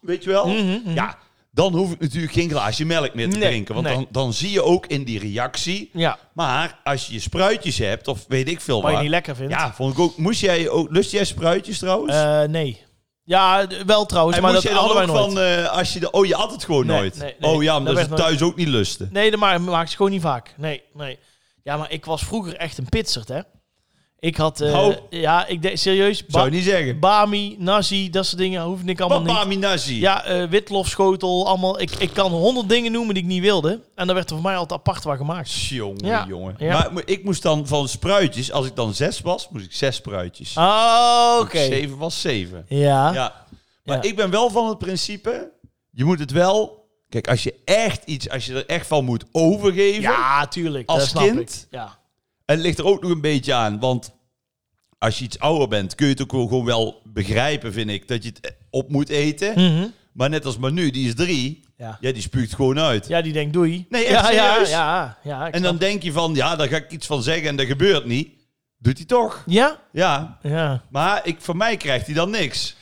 Weet je wel? Mhm, mhm. Ja, dan hoef ik natuurlijk geen glaasje melk meer te Nee, drinken. Want nee. dan, dan zie je ook in die reactie... Ja. Maar als je je spruitjes hebt, of weet ik veel Wat je waar- niet lekker vindt. ja, vond ik ook. Moest jij ook lust jij spruitjes trouwens? Eh, nee. Ja, d- wel trouwens, en maar moest dat jij dan hadden ook wij nooit. van eh, als je de oh je at het gewoon Nee, nooit. nee, nee. oh ja, Dat omdat ze werd nooit- thuis ook niet lusten. Nee, dat ma- maakt ze gewoon niet vaak. Nee, nee. Ja, maar ik was vroeger echt een pitser, hè. Ik had... eh, Nou. ja, ik deed serieus... ba- Zou je niet zeggen. Bami, nasi, dat soort dingen hoefde ik allemaal Papa niet. Minazi. Ja, eh witlofschotel, allemaal. Ik, ik kan honderd dingen noemen die ik niet wilde. En daar werd er voor mij altijd apart waar gemaakt. Jongen, Ja, jongen. ja. Maar mo- ik moest dan van spruitjes, als ik dan zes was, moest ik zes spruitjes. Oh, oké. Als ik Zeven was zeven. Ja. Ja. Maar Ja. ik ben wel van het principe, je moet het wel... Kijk, als je echt iets, als je er echt van moet overgeven... ja, tuurlijk. Als dat snap kind? Ik. Ja. En het ligt er ook nog een beetje aan, want als je iets ouder bent, kun je het ook wel- gewoon wel begrijpen, vind ik, dat je het eh, op moet eten. Mhm. Maar net als Manu, die is drie, ja. ja, die spuugt gewoon uit. Ja, die denkt doei. Nee, echt ja, ja, serieus? ja, ja. ik en dan snap. denk je van, ja, daar ga ik iets van zeggen en dat gebeurt niet. Doet hij toch? Ja? Ja, Ja. maar ik, van mij krijgt hij dan niks.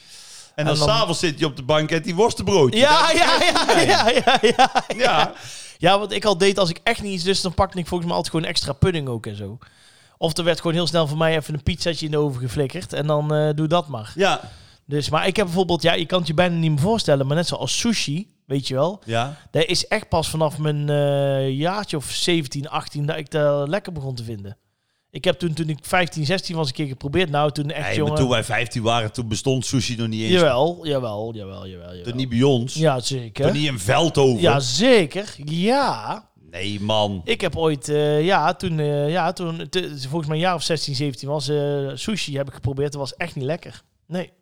En dan, En dan- s'avonds zit hij op de bank en die worstenbroodje. Ja, ja, ja, ja, ja, ja. Dat- ja. Ja, wat ik al deed als ik echt niet iets lust, dan pakte ik volgens mij altijd gewoon extra pudding ook en zo. Of er werd gewoon heel snel voor mij even een pizzetje in de oven geflikkerd en dan eh, doe dat maar. ja, Dus, maar ik heb bijvoorbeeld, ja, je kan het je bijna niet meer voorstellen, maar net zoals sushi, weet je wel. ja. Dat is echt pas vanaf mijn eh, jaartje of 17, 18 dat ik dat lekker begon te vinden. Ik heb toen, toen ik 15, 16 was een keer geprobeerd. Nou, toen echt, Hey, maar jongen. toen wij 15 waren, toen bestond sushi nog niet eens. jawel, jawel, jawel, jawel. jawel. Toen niet bij ons. ja, Toen zeker. niet in Veldhoven. Ja, zeker. Ja. Nee, man. Ik heb ooit, eh, ja, toen, eh, ja, toen te- volgens mij een jaar of 16, 17 was, eh, sushi heb ik geprobeerd. Dat was echt niet lekker. Nee.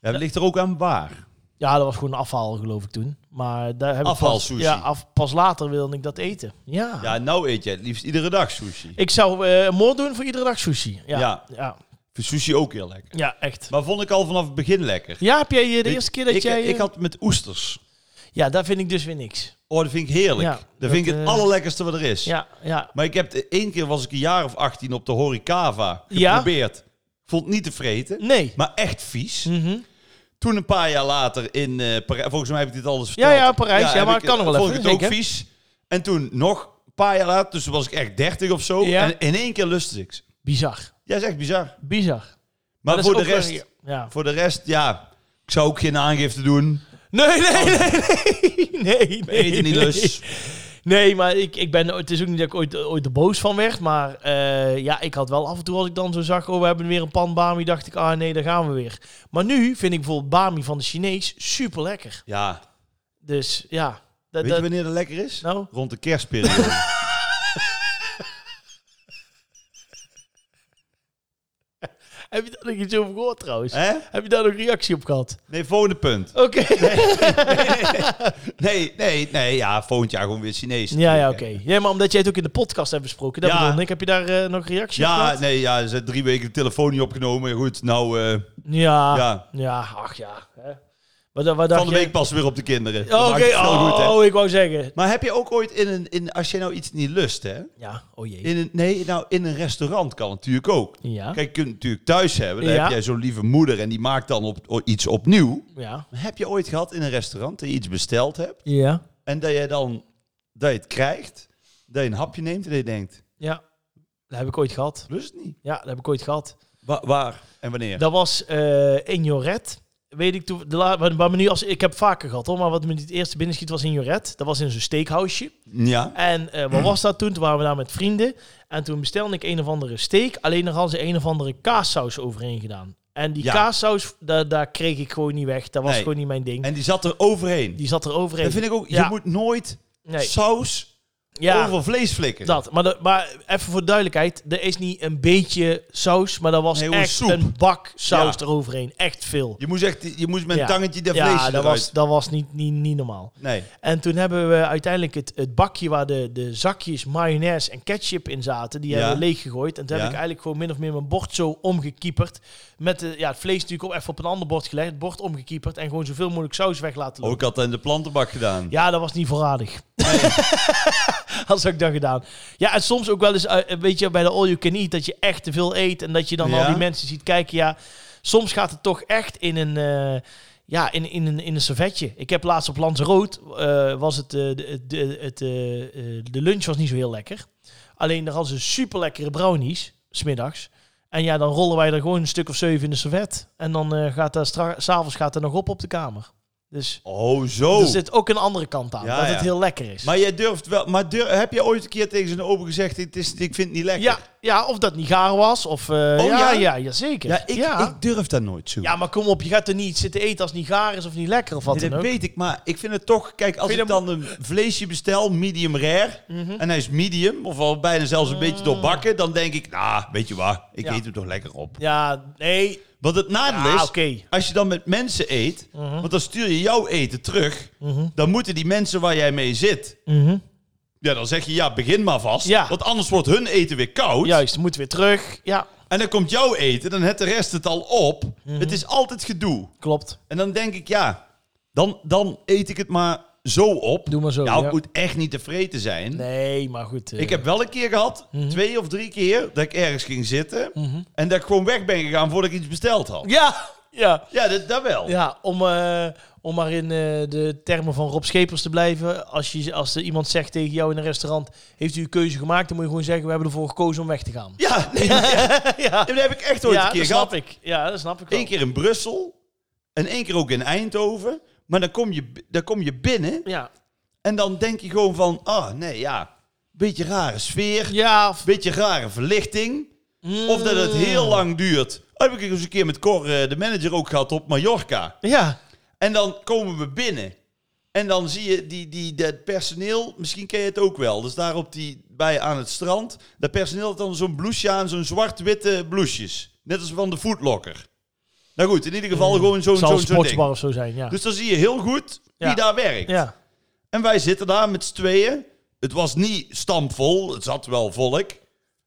Ja, het ligt er ook aan waar. Ja, dat was gewoon afhaal, geloof ik toen. Maar daar heb ik pas, Afhaalsushi. ja, af, pas later wilde ik dat eten. Ja. Ja, nou eet je het liefst iedere dag sushi. Ik zou eh een moord doen voor iedere dag sushi. Ja. Ja, Ja. ja, Ik vind sushi ook heel lekker. echt. Maar vond ik al vanaf het begin lekker. Ja, heb jij eh, de Weet- eerste keer dat ik, jij... eh, Ik had het met oesters. Ja, daar vind ik dus weer niks. Oh, dat vind ik heerlijk. Ja, dat, dat, vind ik het eh, allerlekkerste wat er is. Ja, ja. Maar ik heb de- één keer was ik een jaar of 18 op de Horicava Ja? geprobeerd. Ik Vond het niet te vreten. Nee. Maar echt vies. Mhm. Toen een paar jaar later in eh Parijs. Volgens mij heb ik dit alles Ja, verteld. ja, Parijs. Ja, heb maar ik- het kan nog wel vond even, ik het ook zeker. vies. En toen nog een paar jaar later. Dus toen was ik echt 30 of zo. Ja. En in één keer lustte ik ze. Bizar. Ja, is echt bizar. Maar, Bizar. dat voor is de ook wel- rest... Ja. Voor de rest, ja... Ik zou ook geen aangifte doen. Nee, nee, nee, nee, nee. nee, We eten niet nee. dus. Nee, maar ik, ik ben, het is ook niet dat ik ooit, ooit er boos van werd. Maar eh, ja, ik had wel af en toe als ik dan zo zag... Oh, we hebben weer een pan bami. Dacht ik, ah nee, daar gaan we weer. Maar nu vind ik bijvoorbeeld bami van de Chinees super lekker. Ja. Dus ja. Dat, Weet dat- je wanneer dat lekker is? Nou? Rond de kerstperiode. Heb je daar nog iets over gehoord trouwens? Hè? Heb je daar nog reactie op gehad? Nee, volgende punt. Oké. Nee, nee, nee. Ja, volgend jaar gewoon weer Chinees. Ja, ja, natuurlijk, oké. hè. Ja, maar omdat jij het ook in de podcast hebt besproken, dat Ja. bedoelde ik. Heb je daar eh, nog reactie op Ja, gehad? nee, ja. Ze hebben drie weken de telefoon niet opgenomen. Goed, nou... eh, Ja. Ja. Ja. ach ja. Hè. Wat, wat dacht van de je? week pas weer op de kinderen. Oh, Dat Oké, maakt het veel goed, hè. oh, ik wou zeggen. Maar heb je ook ooit in een... In, als je nou iets niet lust, hè? Ja, oh jee. In een, nee, nou, in een restaurant kan natuurlijk ook. Ja, Kijk, je kunt het natuurlijk thuis hebben. Dan Ja. heb jij zo'n lieve moeder en die maakt dan op, o- iets opnieuw. ja, Maar heb je ooit gehad in een restaurant dat je iets besteld hebt ja, en dat je dan dat je het krijgt, dat je een hapje neemt en dat je denkt, ja. Dat heb ik ooit gehad. lust het niet. Ja, dat heb ik ooit gehad. Wa- waar en wanneer? Dat was eh in Joret. Weet ik toen, de la, wat, wat me nu als, ik heb vaker gehad hoor, maar wat me het eerste binnenschiet was in Joret. Dat was in zo'n steakhuisje. ja. En eh, Mm. wat was dat toen? Toen waren we daar met vrienden. En toen bestelde ik een of andere steak. Alleen daar hadden ze een of andere kaassaus overheen gedaan. En die Ja. kaassaus, da, daar kreeg ik gewoon niet weg. Dat was Nee. gewoon niet mijn ding. En die zat er overheen. die zat er overheen. Dat vind ik ook, je Ja. moet nooit nee. saus Ja. over vlees flikken. Dat, maar, de- maar even voor duidelijkheid, er is niet een beetje saus, maar dat was Nee, gewoon echt soep. een bak saus Ja. eroverheen. Echt veel. Je moest, echt, je moest met een Ja. tangetje dat vlees ja, eruit. dat was, dat was niet, niet, niet normaal. Nee. En toen hebben we uiteindelijk het, het bakje waar de, de zakjes mayonaise en ketchup in zaten, die Ja. hebben we leeggegooid. En toen Ja. heb ik eigenlijk gewoon min of meer mijn bord zo omgekieperd. Met de, ja, het vlees natuurlijk op, even op een ander bord gelegd, het bord omgekieperd en gewoon zoveel mogelijk saus weg laten Oh, lopen. ik had dat in de plantenbak gedaan. Ja, dat was niet voorradig. Had ik dat gedaan. Ja, en soms ook wel eens, eh, weet je, bij de all you can eat, dat je echt te veel eet en dat je dan Ja. al die mensen ziet kijken. Ja, soms gaat het toch echt in een, eh, ja, in, in, een, in een servetje. Ik heb laatst op Lanzarote, eh, was het, eh, de, de, het, eh, eh, de lunch was niet zo heel lekker. Alleen daar hadden ze super lekkere brownies, smiddags. En ja, dan rollen wij er gewoon een stuk of zeven in de servet. En dan eh, gaat dat stra- s'avonds gaat er nog op op de kamer. Dus Oh, zo. er zit ook een andere kant aan. Ja, dat ja. het heel lekker is. Maar jij durft wel. Maar dur- heb je ooit een keer tegen zijn open gezegd: het is, ik vind het niet lekker? Oh, ja, ja, of dat niet gaar was. Of, eh, ja, ja? ja? Ja, zeker. Ja, ik, ja. ik durf dat nooit zo. Ja, maar kom op. Je gaat er niet zitten eten als het niet gaar is of niet lekker of wat Nee, dan dat ook. weet ik, maar ik vind het toch. Kijk, als Vind ik je Mhm. dan een vleesje bestel, medium rare, en hij is medium, of al bijna zelfs een beetje doorbakken, dan denk ik, nou, weet je wat, ik Ah. Ja. eet hem toch lekker op. Ja, nee. Want het nadeel Ja, is, oké. Mhm. als je dan met mensen eet, want dan stuur je jouw eten terug, dan moeten die mensen waar jij mee zit, ja, dan zeg je, ja, begin maar vast, Mhm. Ja. want anders wordt hun eten weer koud. Juist, moet weer terug. Ja, En dan komt jouw eten, dan heeft de rest het al op. Mhm. Het is altijd gedoe. klopt. En dan denk ik, ja, dan, dan eet ik het maar zo op. Doe maar zo, Nou, ja. het moet echt niet tevreden zijn. Nee, Mhm. maar goed. eh, Ik heb wel een keer gehad, twee of drie keer, dat ik ergens ging zitten. Mhm. En dat ik gewoon weg ben gegaan voordat ik iets besteld had. Ja, ja. Ja, dat, dat wel. Ja, om, eh, om maar in eh, de termen van Rob Schepers te blijven. Als, je, als er iemand zegt tegen jou in een restaurant... heeft u een keuze gemaakt, dan moet je gewoon zeggen... we hebben ervoor gekozen om weg te gaan. Ja, nee, ja, ja, dat heb ik echt ooit Ja, een keer dat snap gehad. ik. Ja, dat snap ik wel. Eén keer in Brussel en één keer ook in Eindhoven. Maar dan kom je, dan kom je binnen Ja. en dan denk je gewoon van, ah nee, ja, beetje rare sfeer. Ja, of- beetje rare verlichting. Of dat het heel lang duurt. Dat heb ik eens een keer met Cor, eh, de manager, ook gehad op Mallorca. ja. En dan komen we binnen. En dan zie je die, die, dat personeel, misschien ken je het ook wel. Dus daar op die, bij aan het strand. Dat personeel had dan zo'n bloesje aan, zo'n zwart-witte bloesjes. Net als van de Footlocker. Nou goed, in ieder geval gewoon zo'n Zal zo'n een zo'n sportsbar ding. of zo zijn, ja. Dus dan zie je heel goed wie Ja. daar werkt. ja. En wij zitten daar met z'n tweeën. Het was niet stampvol, het zat wel volk.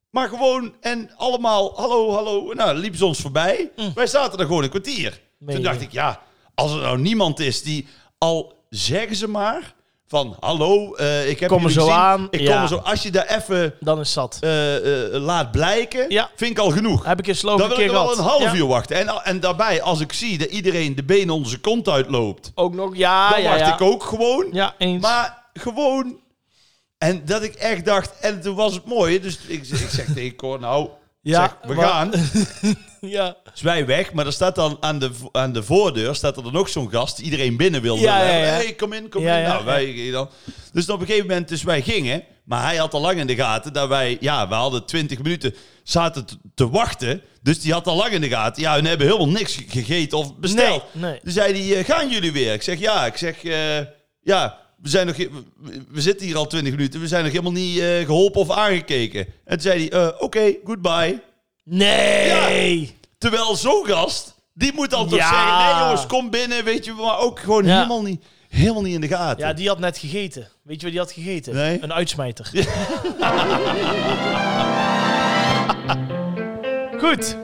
Maar gewoon, en allemaal, hallo, hallo. Nou, dan liepen ze ons voorbij. Wij zaten er gewoon een kwartier. Mm. Meen Toen je? dacht ik, ja, als er nou niemand is die al zeggen ze maar van hallo, eh, ik heb Kom er jullie zo gezien. aan, Ik ja. kom er zo. Als je daar even Dan is zat. eh, eh, laat blijken, Ja. vind ik al genoeg. Heb ik in Dan Slovakia wil ik keer nog wel gehad. een half Ja. uur wachten. En, en daarbij, als ik zie dat iedereen de benen onder zijn kont uitloopt, Ook nog, ja, dan Ah, ja, wacht ja. ik ook gewoon. Ja, eens. Maar gewoon. En dat ik echt dacht. En toen was het mooi. Dus ik, ik zeg tegen Cor, nou. Ja, zeg, we maar- gaan. ja. Dus wij weg. Maar er staat dan aan de, vo- aan de voordeur. Staat er dan ook zo'n gast. Die iedereen binnen wil. Ja, hebben. ja, ja. Hey, kom in, kom Ja, in. ja, nou, ja. Wij, dan. Dus op een gegeven moment. Dus wij gingen. Maar hij had al lang in de gaten dat wij. Ja, we hadden 20 minuten. Zaten te- te wachten. Dus die had al lang in de gaten. Ja, hun hebben helemaal niks ge- gegeten of besteld. Nee, nee. Toen zei hij, eh, gaan jullie weer? Ik zeg, ja. Ik zeg, eh, ja, we, zijn nog, we, we zitten hier al twintig minuten. We zijn nog helemaal niet eh, geholpen of aangekeken. En toen zei hij, eh, oké, goodbye. Nee! Terwijl zo'n gast, die moet dan toch Ja. zeggen... Nee jongens, kom binnen, weet je. Maar ook gewoon Ja. helemaal, niet, helemaal niet in de gaten. Ja. die had net gegeten. Weet je wat die had gegeten? Nee. Een uitsmijter. Goed.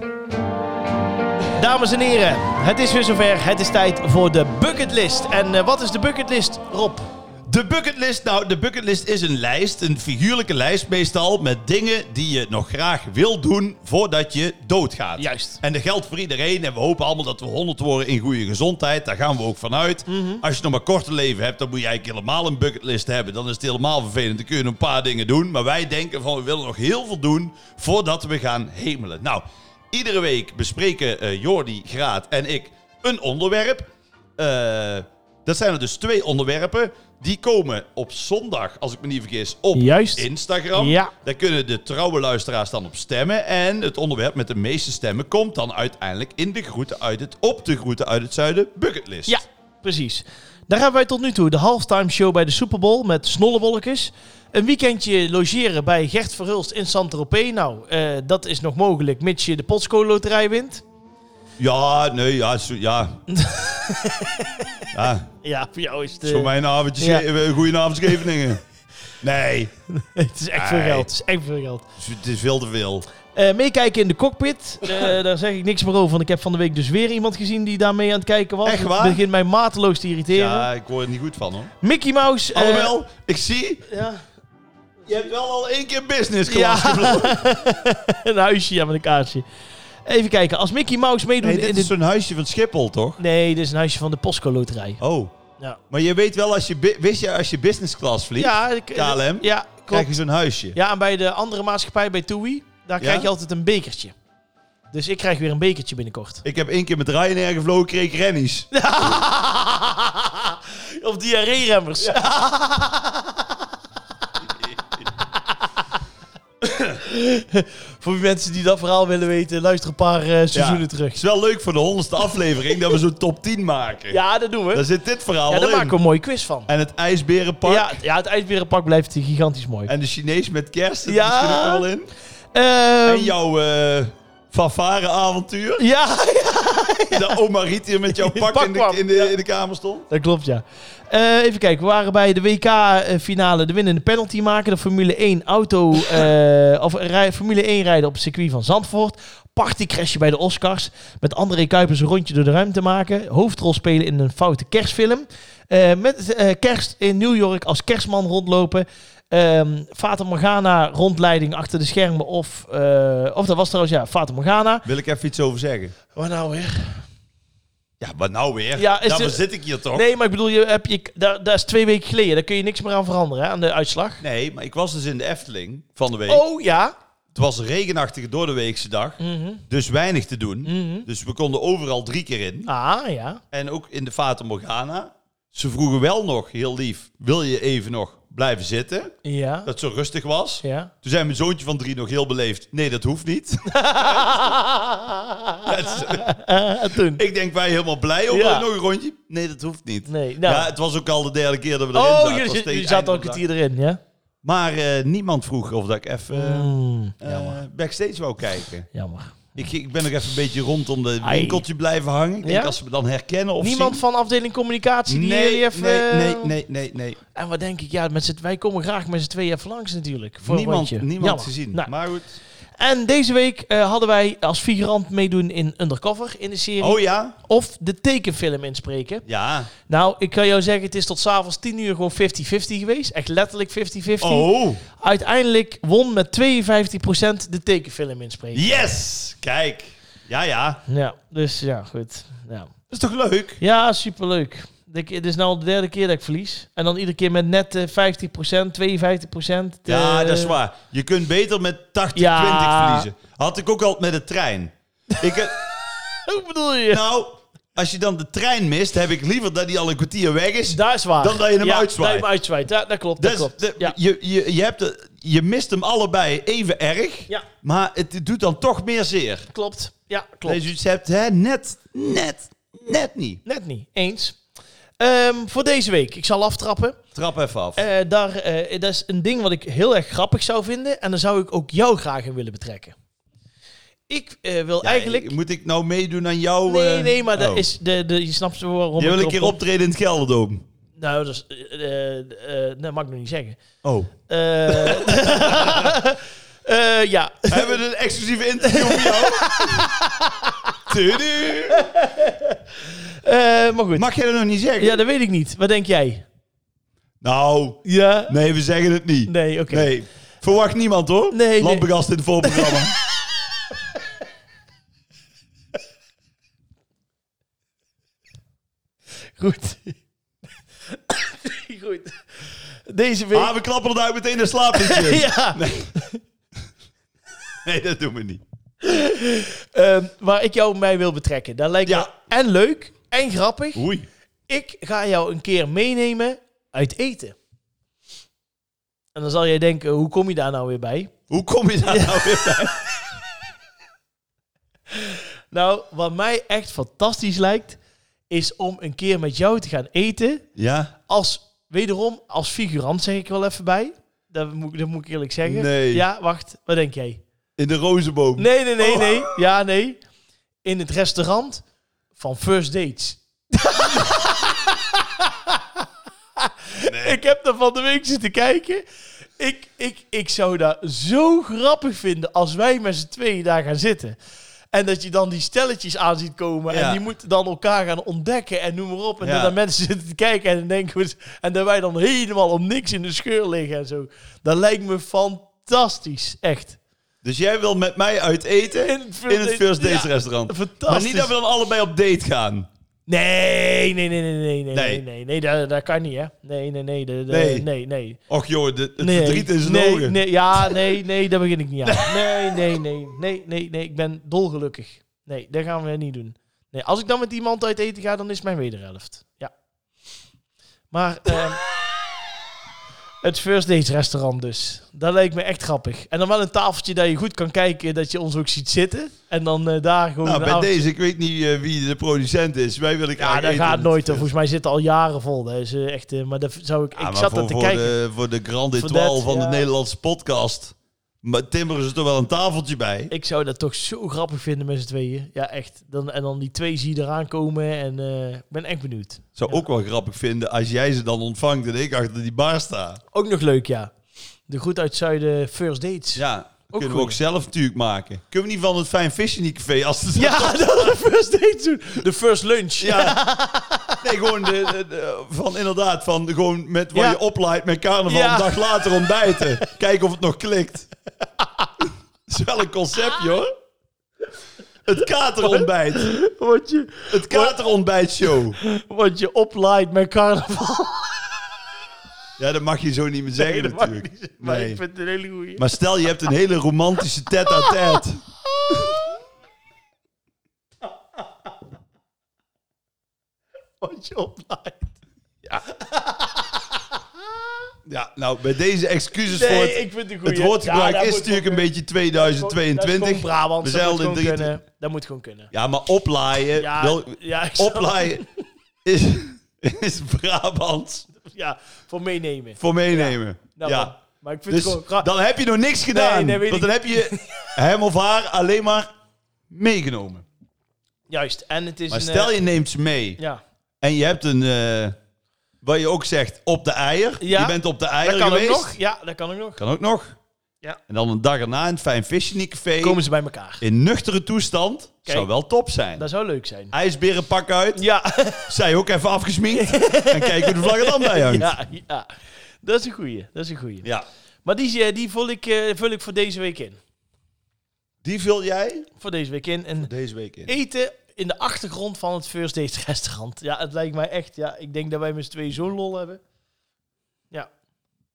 Dames en heren, het is weer zover. Het is tijd voor de bucketlist. En eh, wat is de bucketlist, Rob? De bucketlist, nou, de bucketlist is een lijst, een figuurlijke lijst meestal, met dingen die je nog graag wil doen voordat je doodgaat. Juist. En dat geldt voor iedereen en we hopen allemaal dat we honderd worden in goede gezondheid. Daar gaan we ook vanuit. Mhm. Als je nog maar korte leven hebt, dan moet je eigenlijk helemaal een bucketlist hebben. Dan is het helemaal vervelend, dan kun je een paar dingen doen. Maar wij denken van, we willen nog heel veel doen voordat we gaan hemelen. Nou, iedere week bespreken eh, Jordi, Graat en ik een onderwerp. Eh, dat zijn er dus twee onderwerpen. Die komen op zondag, als ik me niet vergis, op Juist. Instagram. Ja. Daar kunnen de trouwe luisteraars dan op stemmen. En het onderwerp met de meeste stemmen komt dan uiteindelijk in de groeten uit het, op de groeten uit het zuiden bucketlist. Ja, precies. Daar hebben wij tot nu toe de halftime show bij de Super Bowl met snollebolletjes. Een weekendje logeren bij Gert Verhulst in Saint-Tropez. Nou, eh, dat is nog mogelijk, mits je de Potsko loterij wint. Ja, nee, ja. Zo, ja. ja Ja, voor jou is het... eh, zo mijn avondje, Ja. eh, goedenavond Scheveningen. Nee, eh, het is echt veel Nee. geld. Het is echt veel geld. het is veel te veel. Eh, meekijken in de cockpit. Eh, daar zeg ik niks meer over, want ik heb van de week dus weer iemand gezien die daarmee aan het kijken was. Echt waar? Het begint mij mateloos te irriteren. Ja, ik word er niet goed van hoor. Mickey Mouse. eh, Alhoewel, ik zie, ja, je hebt wel al één keer business Ja. class gevlogen. een huisje ja, met een kaartje. Even kijken, als Mickey Mouse meedoet Nee, dit in is de... zo'n huisje van Schiphol, toch? Nee, dit is een huisje van de Postco Loterij. Oh. Ja. Maar je weet wel, als je, bi- wist je als je business class vliegt, Ja, ik- KLM, Ja, krijg klopt. je zo'n huisje. Ja, en bij de andere maatschappij, bij TUI, daar Ja? krijg je altijd een bekertje. Dus ik krijg weer een bekertje binnenkort. Ik heb één keer met Ryanair gevlogen, kreeg ik Rennies. of diarree-remmers. Voor die mensen die dat verhaal willen weten, luister een paar eh, seizoenen Ja. Het terug. is wel leuk voor de honderdste aflevering dat we zo'n top 10 maken. Ja, dat doen we. Daar zit dit ja, verhaal daar wel in. maken we een mooie quiz van. En het ijsberenpark. Ja, ja, het IJsberenpark blijft gigantisch mooi. En de Chinees met kerst, dat Ja. ja. zit er ook wel in. Ehm, En jouw eh fanfare-avontuur. ja, Dat oma Riet hier met jouw In pak pak in de, kwam. in de, Ja. in de kamer stond. Dat klopt, ja. Eh, even kijken, we waren bij de WK-finale de winnende penalty maken. De Formule 1 auto, eh, of rij- Formule 1 rijden op het circuit van Zandvoort. Partycrashje bij de Oscars. Met André Kuipers een rondje door de ruimte maken. Hoofdrol spelen in een foute kerstfilm. Eh, met eh, kerst in New York als kerstman rondlopen. Ehm Fata Morgana rondleiding achter de schermen. Of, eh, of dat was trouwens, ja, Fata Morgana. Wil ik even iets over zeggen? Waar nou weer? Ja, maar nou weer. Ja, is Daarvoor het- zit ik hier toch? Nee, maar ik bedoel, je, heb je, daar, daar is twee weken geleden. Daar kun je niks meer aan veranderen, hè, aan de uitslag. Nee, maar ik was dus in de Efteling van de week. Oh, ja. Het was een regenachtige door de weekse dag. Mhm. Dus weinig te doen. Dus we konden overal drie keer in. Ah, ja. En ook in de Fata Morgana. Ze vroegen wel nog, heel lief, wil je even nog blijven zitten? Ja. Dat het zo rustig was. Ja. Toen zei mijn zoontje van drie nog heel beleefd, nee dat hoeft niet. Dat is- En toen? ik denk wij helemaal blij, oh Ja. wil je nog een rondje? Nee dat hoeft niet. Nee, nou. Ja, het was ook al de derde keer dat we erin zaten. Oh, Het was je, tegen je het zat eind al een van de dag. kwartier erin, ja? Maar eh, niemand vroeg of dat ik even eh, Mm, eh, backstage wou kijken. jammer. Ik, ik ben nog even een beetje rondom de Ai. winkeltje blijven hangen. Ik denk Ja? als ze me dan herkennen of Niemand zien- van afdeling communicatie die jullie nee, even... nee, nee, eh, nee, nee, nee. En wat denk ik, ja, met z'n- wij komen graag met z'n tweeën even langs natuurlijk. Voor een Niemand, rondje. niemand Jammer. gezien. Nou, Maar goed. En deze week eh, hadden wij als figurant meedoen in Undercover in de serie. Oh ja? Of de tekenfilm inspreken. Ja. Nou, ik kan jou zeggen, het is tot s'avonds 10 uur gewoon 50-50 geweest. Echt letterlijk 50-50. Oh. Uiteindelijk won met 52% de tekenfilm inspreken. Yes! Kijk. Ja, ja. Ja, dus ja, goed. Ja, Dat is toch leuk? ja superleuk. Ik, het is nou de derde keer dat ik verlies. En dan iedere keer met net eh, 50%, 52%. Ja, eh, dat is waar. Je kunt beter met 80-20 Ja. verliezen. Had ik ook altijd met de trein. Ik heb, Hoe bedoel je? nou, als je dan de trein mist, heb ik liever dat die al een kwartier weg is. dat is waar. Dan dat je hem ja, uitzwaait. Dat je hem uitzwaait. Ja, dat klopt. Dat, Dus klopt. de- ja. je, je, je, hebt de- je mist hem allebei even erg, Ja. maar het doet dan toch meer zeer. klopt. Ja, klopt. Dat je iets hebt, hè, net, net, net niet. Net niet. Eens. Ehm, voor deze week. Ik zal aftrappen. Trap even af. Eh, daar, eh, dat is een ding wat ik heel erg grappig zou vinden. En daar zou ik ook jou graag in willen betrekken. Ik eh, wil Ja, eigenlijk... Moet ik nou meedoen aan jou? Nee, eh, nee, maar dat oh. is de, de, je snapt waarom Je wil ik een keer erop optreden in het Gelderdoom. kom. Nou, dat is... eh, eh, eh, dat mag ik nog niet zeggen. Oh. Eh, eh, ja. Hebben we een exclusieve interview voor jou? Tudu. Eh, maar goed. Mag jij dat nog niet zeggen? Ja, dat weet ik niet. Wat denk jij? Nou, Ja. nee, we zeggen het niet. Nee, oké. Nee. Verwacht niemand hoor. Nee, nee. Lampengast in het voorprogramma. Goed. goed. Deze week... ah, we klappen het uit meteen naar slaap. ja. Nee, dat doen we niet. Ehm, waar ik jou mij wil betrekken. Dat lijkt Ja. me en leuk en grappig. Oei. Ik ga jou een keer meenemen uit eten. En dan zal jij denken, hoe kom je daar nou weer bij? Hoe kom je daar nou weer bij? Nou, wat mij echt fantastisch lijkt, is om een keer met jou te gaan eten. Ja? Als, wederom, als figurant zeg ik wel even bij. Dat moet, ik- dat moet ik eerlijk zeggen. Nee. Ja, wacht. Wat denk jij? In de rozenboom. Nee, nee, nee, Oh. nee. Ja, nee. In het restaurant van First Dates. Ik heb daar van de week zitten kijken. Ik, ik, ik zou dat zo grappig vinden als wij met z'n tweeën daar gaan zitten. En dat je dan die stelletjes aan ziet komen. En Ja. die moeten dan elkaar gaan ontdekken en noem maar op. En Ja. dat dan mensen zitten te kijken en dan denken we... En dat wij dan helemaal om niks in de scheur liggen en zo. Dat lijkt me fantastisch. Echt. Dus jij wil met mij uit eten In in het het first First, date- Dates ja, restaurant. fantastisch. Maar niet dat we dan allebei op date gaan. Nee, nee, nee, nee, nee, nee, nee, Nee. nee, nee, dat, dat kan niet, hè? Nee, nee, nee, de- de- nee, Nee. nee, nee. Och joh, de, het nee verdriet in zijn nee, ogen. nee, ja, nee, nee, daar begin ik niet aan. Nee, nee, nee, nee, nee, nee, ik ben dolgelukkig. Nee, dat gaan we niet doen. Nee, als ik dan met iemand uit eten ga, dan is mijn wederhelft. Ja. Maar ehm, het First Dates restaurant dus. Dat lijkt me echt grappig. En dan wel een tafeltje dat je goed kan kijken, dat je ons ook ziet zitten. En dan eh, daar gewoon... Nou, een bij avondje- deze, ik weet niet eh, wie de producent is. Wij willen graag Ja, dat eten. gaat nooit. hoor. Volgens mij zit het al jaren vol. Dat is eh, echt, eh, maar dat zou ik. Ja, ik maar zat voor, dat te voor kijken. De, voor de Grand Voor Etoile dat, van ja. de Nederlandse podcast. Maar timmeren ze er wel een tafeltje bij. Ik zou dat toch zo grappig vinden met z'n tweeën. Ja, echt. Dan, en dan die twee zie je eraan komen. En eh, ik ben echt benieuwd. Zou Ja. ook wel grappig vinden als jij ze dan ontvangt en ik achter die bar sta. Ook nog leuk, ja. De Goed uit Zuiden First Dates. Ja, kunnen we goed. ook zelf natuurlijk maken. Kunnen we niet van het Fijn Vis in die café als het... Ja, dat was de First Dates doen. De First Lunch. Ja. Nee, gewoon de, de- de- van inderdaad, van gewoon met wat Ja. je oplaait met carnaval Ja. een dag later ontbijten. Kijken of het nog klikt. Dat is wel een conceptje hoor. Het katerontbijt. Wat je, Het katerontbijtshow. wat je oplaait met carnaval. Ja, dat mag je zo niet meer zeggen dat mag natuurlijk. niet zeggen, Maar Nee. ik vind het een hele goeie. Maar stel, je hebt een hele romantische tête-à-tête. Wat je oplaait. Ja, nou, bij deze excuses Nee, voor het, ik vind het een goeie. het woordgebruik Ja, dat is moet natuurlijk een gewoon beetje kunnen. Dat is 2022. gewoon Brabant. We Dat moet zeilden gewoon in drie- kunnen. Dat moet gewoon kunnen. Ja, maar oplaaien. Ja, wel- ja, ik snap oplaaien is, is Brabant Ja, voor meenemen. voor meenemen. Ja. Nou, maar- Maar ik vind Dus het gewoon grappig. dan heb je nog niks gedaan. Nee, nee, weet want dan heb je hem of haar alleen maar meegenomen. Juist. En het is Maar een... stel eh, je neemt ze mee Ja. en je hebt een, eh wat je ook zegt, op de eier. Ja. Je bent op de eier Dat kan ook geweest. nog. Ja, dat kan ook nog. Kan ook nog. Ja. En dan een dag erna in het Fijn Fishingcafé. Komen ze bij elkaar. In nuchtere toestand. Zou wel top zijn. Dat zou leuk Ah, zijn. IJsberenpak uit. Ja, Zij ook even afgesminkt. en kijken hoe de vlag er dan bij hangt. ja, ja. Dat is een goeie. Dat is een goeie. Ja. Maar die, eh, die vul, ik, eh, vul ik voor deze week in. Die vul jij Voor deze week in. En deze week in. eten in de achtergrond van het First Date restaurant. Ja, het lijkt mij echt. Ja, ik denk dat wij met z'n tweeën zo'n lol hebben. Ja.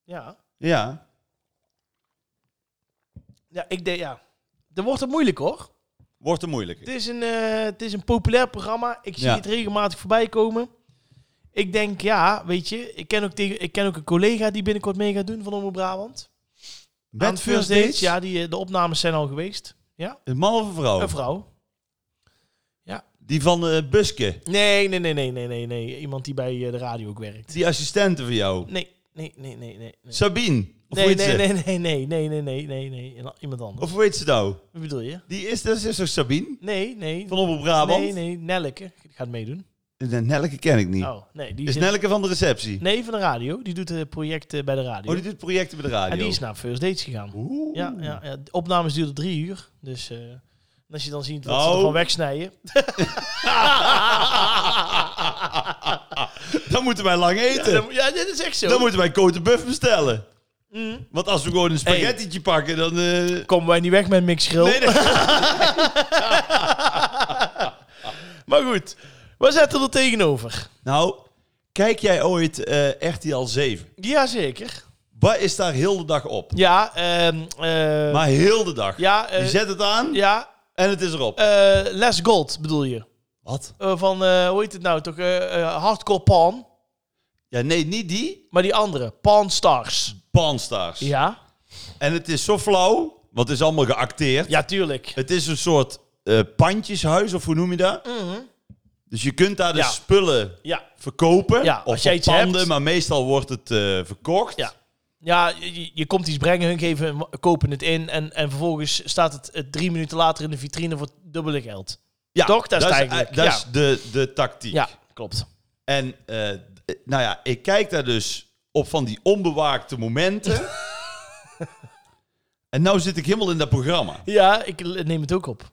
Ja. Ja. Ja, ik denk, ja. Dan wordt het moeilijk hoor. Wordt er moeilijk. Het is een, eh, het is een populair programma. Ik zie Ja. het regelmatig voorbij komen. Ik denk, ja, weet je, ik ken ook, tegen, ik ken ook een collega die binnenkort mee gaat doen van Omroep Brabant. Aan Met het First Dates, ja, die, eh, de opnames zijn al geweest. Ja, Een man of een vrouw? een vrouw. Die van eh Buske. Nee, nee, nee, nee, nee, nee, nee. Iemand die bij eh, de radio ook werkt. Die assistente van jou. Nee, nee, nee, nee, nee. nee. Sabine. Of Nee, hoe heet nee, ze? nee, nee, nee, nee, nee, nee, nee, nee. En Iemand anders. Of hoe heet ze nou? Wat bedoel je? Die is, dat is toch Sabine? Nee, nee. Van Omroep Brabant? Nee, nee, Nelleke gaat meedoen. Nee, Nelke ken ik niet. Oh, nee. Die is zit- Nelke van de receptie? Nee, van de radio. Die doet de projecten bij de radio. Oh, die doet projecten bij de radio. En die is naar First Dates gegaan. Oeh. Ja, ja, ja, de opnames duurden drie uur. Dus eh, en als je dan ziet wat ze Oh. ervan wegsnijden. Dan moeten wij lang eten. Dan- ja, dit is echt zo. Dan moeten wij Cote Buff bestellen. Mm. Want als we gewoon een spaghettietje pakken, dan... eh, Komen wij niet weg met Mick Schril. Nee, nee. Maar goed, wat zetten we er tegenover? Nou, kijk jij ooit eh RTL 7? Jazeker. Wat is daar heel de dag op? Ja, ehm eh, Maar heel de dag. ja, eh, Je zet het aan ja en het is erop. eh, Les Gold bedoel je. Wat? Eh, van, eh, hoe heet het nou toch? eh, eh, hardcore Pawn. Ja, nee, niet die. Maar die andere, Pawn Stars. Panstars. Ja? En het is zo flauw, want het is allemaal geacteerd. Ja, tuurlijk. Het is een soort eh, pandjeshuis, of hoe noem je dat? Dus je kunt daar dus Mhm. Ja. spullen Ja. verkopen. Ja, of als jij op iets panden, hebt. maar meestal wordt het eh, verkocht. Ja. Ja, je, je komt iets brengen, hun geven, hem- kopen het in. En, en vervolgens staat het eh, drie minuten later in de vitrine voor het dubbele geld. Ja, Toch? Dat is het eh, eigenlijk, dat ja. is de, de tactiek. Ja, klopt. En eh, d- nou ja, ik kijk daar dus op van die onbewaakte momenten. en nou zit ik helemaal in dat programma. Ja, ik l- neem het ook op.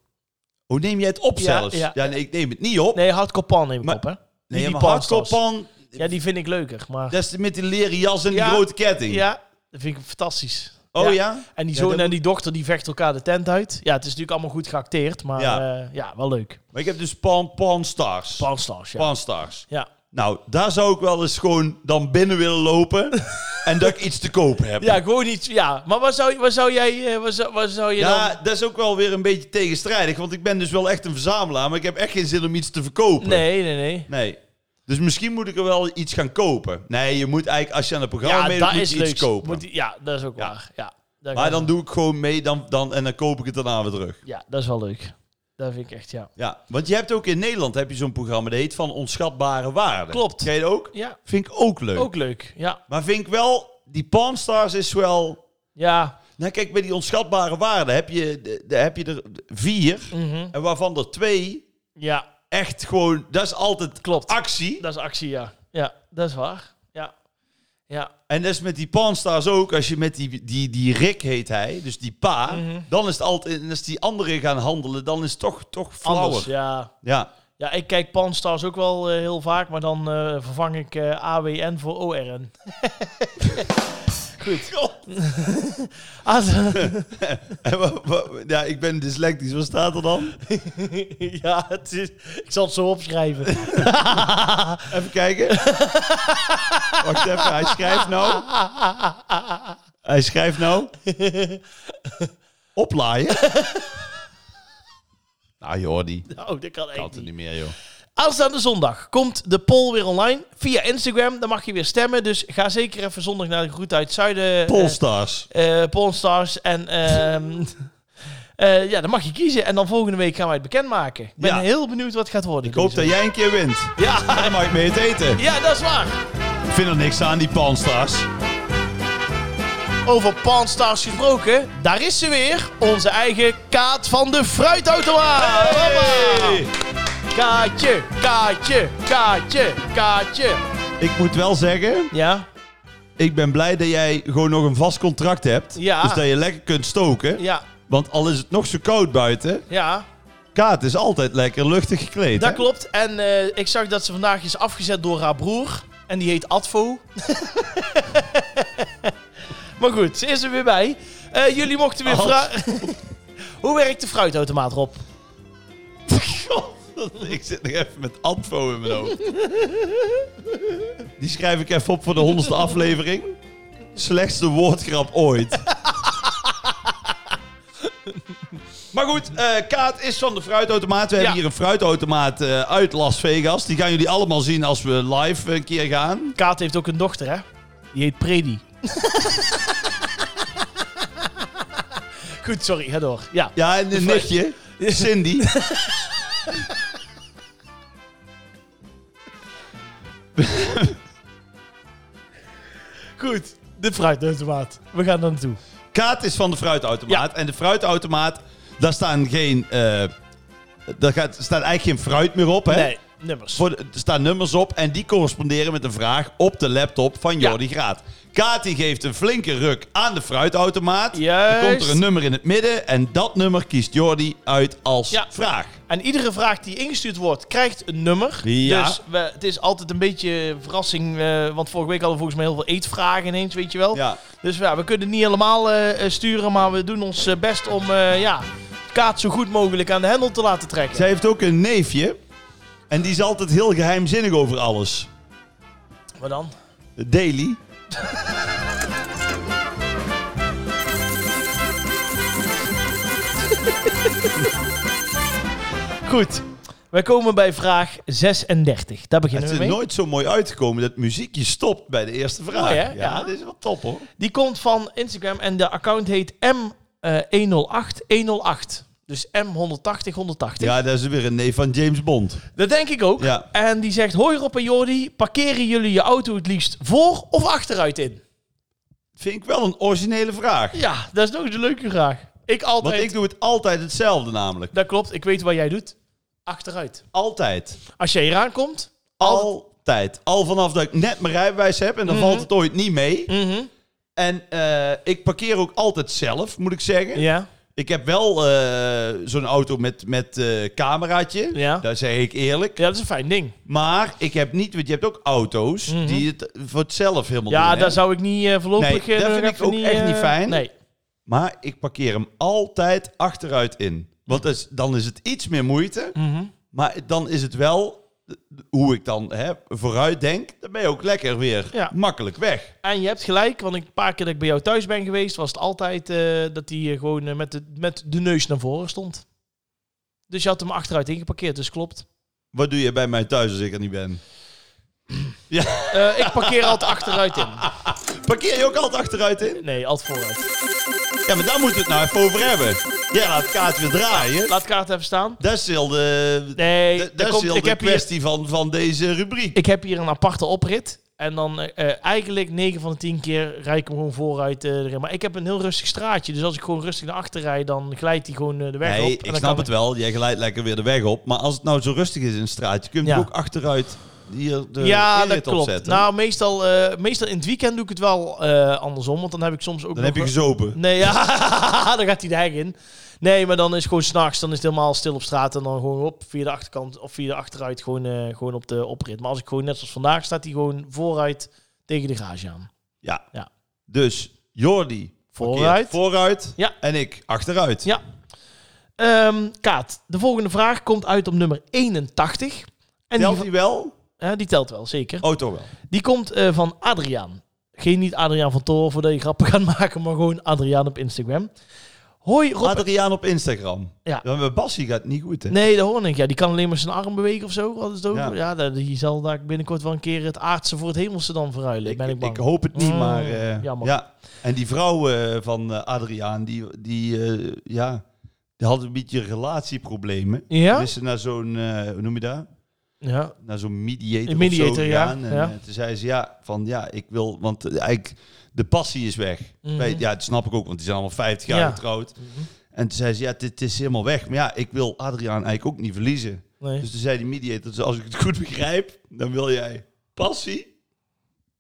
Hoe neem jij het op Ja, zelfs? ja. Ja, nee, ik neem het niet op. Nee, hardcore pan neem ik Maar- op, hè. Niet nee die maar Pawnstars. hardcore pan, Ja, die vind ik leuker. Maar dat is met die leren jas en Ja, die grote ketting. ja, dat vind ik fantastisch. Oh ja? En die Ja, zoon dat en die dochter, die vechten elkaar de tent uit. Ja, het is natuurlijk allemaal goed geacteerd, maar ja, Ja. ja wel leuk. Maar ik heb dus pan, pan stars. Pan, Panstars, ja. stars. Ja. Nou, daar zou ik wel eens gewoon dan binnen willen lopen. en dat ik iets te kopen heb. ja, gewoon iets... Ja, maar wat zou, wat zou jij... eh, Wat zou, wat zou je Ja, dan... dat is ook wel weer een beetje tegenstrijdig. Want ik ben dus wel echt een verzamelaar, maar ik heb echt geen zin om iets te verkopen. Nee, nee, nee. Nee. Dus misschien moet ik er wel iets gaan kopen. Nee, je moet eigenlijk, als je aan het programma Ja, meedoet, dat moet is je iets leuk. kopen. Moet die- ja, dat is ook Ja. waar. Ja, dat maar kan. dan doe ik gewoon mee dan, dan, en dan koop ik het daarna weer terug. Ja, dat is wel leuk. Dat vind ik echt, ja. Ja, want je hebt ook in Nederland heb je zo'n programma, dat heet Van Onschatbare Waarde. Klopt. Ken je dat ook? Ja, Vind ik ook leuk. ook leuk. Ja, Maar vind ik wel, die Palm Stars is wel... ja. Nou kijk, bij die Onschatbare Waarde heb je, de- de- heb je er vier. mhm. En waarvan er twee ja, echt gewoon... Dat is altijd Klopt. actie. dat is actie, ja. Ja, dat is waar. Ja, ja. En dat is met die Panstars ook. Als je met die, die, die Rick heet hij, dus die pa, Mhm. dan is het altijd. En als die anderen gaan handelen, dan is het toch, toch flauwer. Anders, ja. ja. Ja, ik kijk Panstars ook wel eh, heel vaak, maar dan eh, vervang ik eh, AWN voor ORN. Goed. Ah, En wa- wa- ja, ik ben dyslectisch. Wat staat er dan? ja, het is, ik zal het zo opschrijven. Even kijken. Wacht even, hij schrijft nou. Hij schrijft nou. Oplaaien. nou, joh, die Nou, dat kan kan echt het niet. niet meer, joh. Aanstaande zondag komt de poll weer online via Instagram. Dan mag je weer stemmen. Dus ga zeker even zondag naar de Groet uit het Zuiden. Polstars. eh, eh, Polstars. En ehm, eh, ja, dan mag je kiezen. En dan volgende week gaan wij het bekendmaken. Ik ben Ja. heel benieuwd wat het gaat worden. Ik hoop dat jij een keer wint. Ja, Dan mag ik mee het eten. ja, dat is waar. Ik vind er niks aan, die Panstars. Over Pawnstars gesproken. Daar is ze weer. Onze eigen Kaat van de Fruitautomaat. Hoppa. Kaatje, Kaatje, Kaatje, Kaatje. Ik moet wel zeggen, Ja, ik ik ben blij dat jij gewoon nog een vast contract hebt. Ja. Dus dat je lekker kunt stoken. Ja, Want al is het nog zo koud buiten, ja. Kaat is altijd lekker luchtig gekleed. Dat hè? klopt. En eh, ik zag dat ze vandaag is afgezet door haar broer. En die heet Advo. maar goed, ze is er weer bij. Eh, jullie mochten weer Ad- vragen. Hoe werkt de fruitautomaat, Rob? God, ik zit nog even met Advo in mijn hoofd. Die schrijf ik even op voor de honderdste aflevering. Slechtste woordgrap ooit. Maar goed, eh, Kaat is van de fruitautomaat. We hebben Ja. hier een fruitautomaat eh, uit Las Vegas. Die gaan jullie allemaal zien als we live een keer gaan. Kaat heeft ook een dochter, hè? Die heet Predi. Goed, sorry, ga door. Ja. Ja, en een nichtje, Cindy. Goed, de fruitautomaat. We gaan daar naartoe. Kaat is van de fruitautomaat. En de fruitautomaat, daar staan geen. eh, daar gaat, staat eigenlijk geen fruit meer op. Hè? Nee, nummers. Voor de- er staan nummers op en die corresponderen met een vraag op de laptop van Jordi Graat. Kaat die geeft een flinke ruk aan de fruitautomaat. Dan komt er Juist. een nummer in het midden en dat nummer kiest Jordi uit als Ja. vraag. En iedere vraag die ingestuurd wordt, krijgt een nummer. Ja. Dus we, het is altijd een beetje verrassing. eh, want vorige week hadden we volgens mij heel veel eetvragen ineens, weet je wel. Ja. Dus ja, we kunnen niet helemaal eh, eh, sturen, maar we doen ons eh, best om eh, ja, Kaat zo goed mogelijk aan de hendel te laten trekken. Zij heeft ook een neefje en die is altijd heel geheimzinnig over alles. Wat dan? Daily. Goed. Wij komen bij vraag 36. Daar beginnen Het we is mee. nooit zo mooi uitgekomen dat het muziekje stopt bij de eerste vraag. Mooi, hè? ja, Ja. dit is wel top hoor. Die komt van Instagram en de account heet eh, M108108. Dus M180 180. Ja, dat is weer een neef van James Bond. Dat denk ik ook. Ja. En die zegt: Hoi Rob en Jordi, parkeren jullie je auto het liefst voor of achteruit in? Vind ik wel een originele vraag. Ja, dat is nog eens een leuke vraag. Ik Want altijd. ik doe het altijd hetzelfde namelijk. Dat klopt, ik weet wat jij doet. Achteruit. Altijd. Als jij hier aankomt. Altijd. Al vanaf dat ik net mijn rijbewijs heb en dan valt het ooit niet mee. Mhm. En eh, ik parkeer ook altijd zelf, moet ik zeggen. Ja. Ik heb wel eh, zo'n auto met, met eh, cameraatje. Ja. Dat zeg ik eerlijk. ja, dat is een fijn ding. Maar ik heb niet, want je hebt ook auto's die het voor het zelf helemaal doen. Mhm. Ja, hè? daar zou ik niet eh, voorlopig. Nee, eh, dat nog vind ik even ook echt eh, niet fijn. Nee. Maar ik parkeer hem altijd achteruit in. Want dat is- dan is het iets meer moeite. Mhm. Maar dan is het wel eh, hoe ik dan hè, vooruit denk. Dan ben je ook lekker weer Ja. makkelijk weg. En je hebt gelijk, want een paar keer dat ik bij jou thuis ben geweest, was het altijd eh, dat hij eh, gewoon eh, met, de, met de neus naar voren stond. Dus je had hem achteruit ingeparkeerd, dus klopt. Wat doe je bij mij thuis als ik er niet ben? Eh, ik parkeer altijd achteruit in. Parkeer je ook altijd achteruit in? Nee, altijd vooruit. Ja, maar daar moeten we het nou even over hebben. Ja, laat kaart weer draaien. Laat kaart even staan. Dat is heel de, Nee, dat- daar dat is komt- heel ik de heb hier- kwestie van, van deze rubriek. Ik heb hier een aparte oprit. En dan eh, eh, eigenlijk 9 van de 10 keer rijd ik hem gewoon vooruit eh, erin. Maar ik heb een heel rustig straatje. Dus als ik gewoon rustig naar achter rijd, dan glijdt hij gewoon eh, de weg op. Nee, En ik dan snap kan het wel. Jij glijdt lekker weer de weg op. Maar als het nou zo rustig is in een straatje, kun je Ja. ook achteruit hier de ja, dat inrit klopt. eh, opzetten. Nou, meestal, eh, meestal in het weekend doe ik het wel eh, andersom. Want dan heb ik soms ook Dan Nou, nog heb je wel- gezopen. Nee, ja, dan gaat hij de heg in. Nee, maar dan is het gewoon s'nachts, dan is het helemaal stil op straat. En dan gewoon op via de achterkant of via de achteruit gewoon, eh, gewoon op de oprit. Maar als ik gewoon net zoals vandaag, staat hij gewoon vooruit tegen de garage aan. Ja. Ja. Dus Jordi parkeert Vooruit. vooruit Ja. en ik achteruit. Ja. Ehm, Kaat, de volgende vraag komt uit op nummer 81. En die, Telt hij wel? ja, die telt wel, zeker. Auto wel. Die komt eh, van Adriaan. Geen niet Adriaan van Toren voordat je grappen gaat maken, maar gewoon Adriaan op Instagram. Hoi Rob. Adriaan op Instagram. Ja. Ja, maar Bassie gaat niet goed, hè? nee, dat hoor ik. Ja, die kan alleen maar zijn arm bewegen of zo. Wat is het ook? Ja, Ja. dat, die zal daar binnenkort wel een keer het aardse voor het hemelse dan verruilen. Ik, ben ik bang. ik hoop het niet, Mm, maar... eh, jammer. Ja. En die vrouw eh, van eh, Adriaan, die, die, eh, ja, die had een beetje relatieproblemen. Ja? Dus ze naar zo'n, eh, hoe noem je dat? ja. naar zo'n mediator, Een of zo mediator, ja. gegaan. En Ja. eh, toen zei ze, ja, van ja, ik wil... Want eh, eigenlijk, de passie is weg. Mhm. Weet- Ja, dat snap ik ook, want die zijn allemaal 50 jaar Ja. Mhm. getrouwd. En toen zei ze, ja, dit is helemaal weg. Maar ja, ik wil Adriaan eigenlijk ook niet verliezen. Nee. Dus toen zei die mediator, als ik het goed begrijp, dan wil jij passie.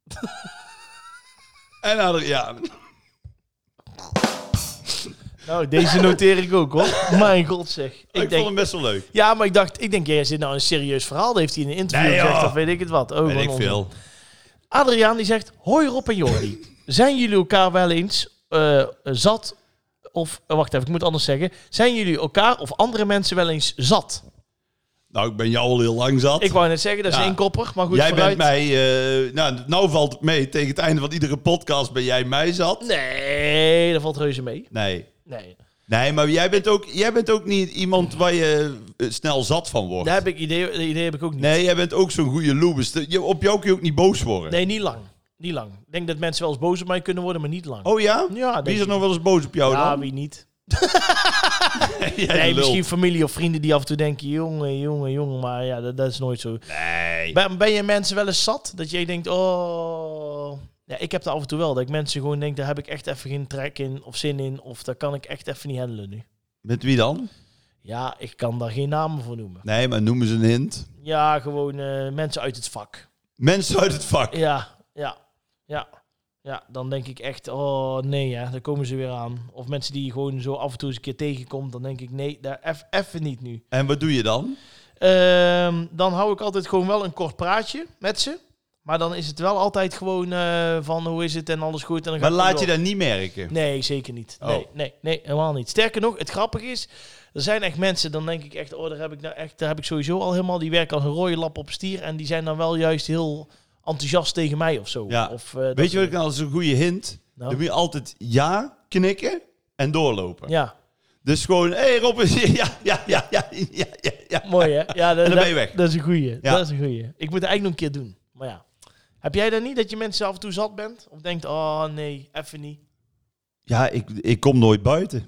En Adriaan. Nou, deze noteer ik ook hoor. Mijn god zeg. Ik, Ik vond denk, hem best wel leuk. ja, maar ik dacht, ik denk, jij zit nou een serieus verhaal. Dat heeft hij in een interview Nee, gezegd, joh. of weet ik het wat. Oh, Weet gewoon ik onzin. veel. Adriaan die zegt, hoi Rob en Jordi. Zijn jullie elkaar wel eens eh, zat, of, eh, wacht even, ik moet anders zeggen. Zijn jullie elkaar of andere mensen wel eens zat? Nou, ik ben jou al heel lang zat. Ik wou net zeggen, dat is Ja. één kopper, maar goed, jij vooruit. bent mij... eh, nou, nou valt het mee. Tegen het einde van iedere podcast ben jij mij zat. Nee, dat valt reuze mee. Nee. Nee, Nee, maar jij bent ook, jij bent ook niet iemand waar je eh, snel zat van wordt. daar heb ik idee, dat idee heb ik ook niet. Nee, jij bent ook zo'n goede loebes. De- je- Op jou kun je ook niet boos worden. Nee, niet lang. Niet lang. Ik denk dat mensen wel eens boos op mij kunnen worden, maar niet lang. Oh ja? Ja, Wie denk is er ik. nog wel eens boos op jou ja, dan? wie niet? Jij Nee, lul. misschien familie of vrienden die af en toe denken, jongen, jongen, jongen, maar ja, dat, dat is nooit zo. Nee. Ben, ben je mensen wel eens zat? Dat jij denkt, oh... Ja, ik heb dat af en toe wel. Dat ik mensen gewoon denk, daar heb ik echt even geen trek in of zin in. Of daar kan ik echt even niet handelen nu. Met wie dan? Ja, ik kan daar geen namen voor noemen. Nee, maar noem eens een hint. Ja, gewoon eh, mensen uit het vak. Mensen uit het vak. Ja, ja, ja. Ja, dan denk ik echt, oh nee, hè, daar komen ze weer aan. Of mensen die je gewoon zo af en toe eens een keer tegenkomt, dan denk ik, nee, daar eff- even niet nu. En wat doe je dan? Ehm, dan hou ik altijd gewoon wel een kort praatje met ze. Maar dan is het wel altijd gewoon eh, van hoe is het en alles goed. En dan Maar gaat het laat je door. dat niet merken. Nee, zeker niet. Oh. Nee, nee, nee, helemaal niet. Sterker nog, het grappige is, er zijn echt mensen, dan denk ik echt, oh, daar heb ik nou echt, daar heb ik sowieso al helemaal, die werken als een rode lap op stier en die zijn dan wel juist heel enthousiast tegen mij of zo. Ja. Of, eh, dat Weet je wat soort- ik nou als een goede hint? Nou. Dan moet je altijd ja knikken en doorlopen. Ja, Dus gewoon, hé hey Rob, is- ja, ja, ja, ja, ja, ja, ja. mooi hè? Ja, dat, dan ben je dat- weg. Dat is een goeie. Ja. Dat is een goeie. Ik moet het eigenlijk nog een keer doen. Maar ja. Heb jij dat niet, dat je mensen af en toe zat bent? Of denkt, oh nee, even niet. Ja, ik, ik kom nooit buiten.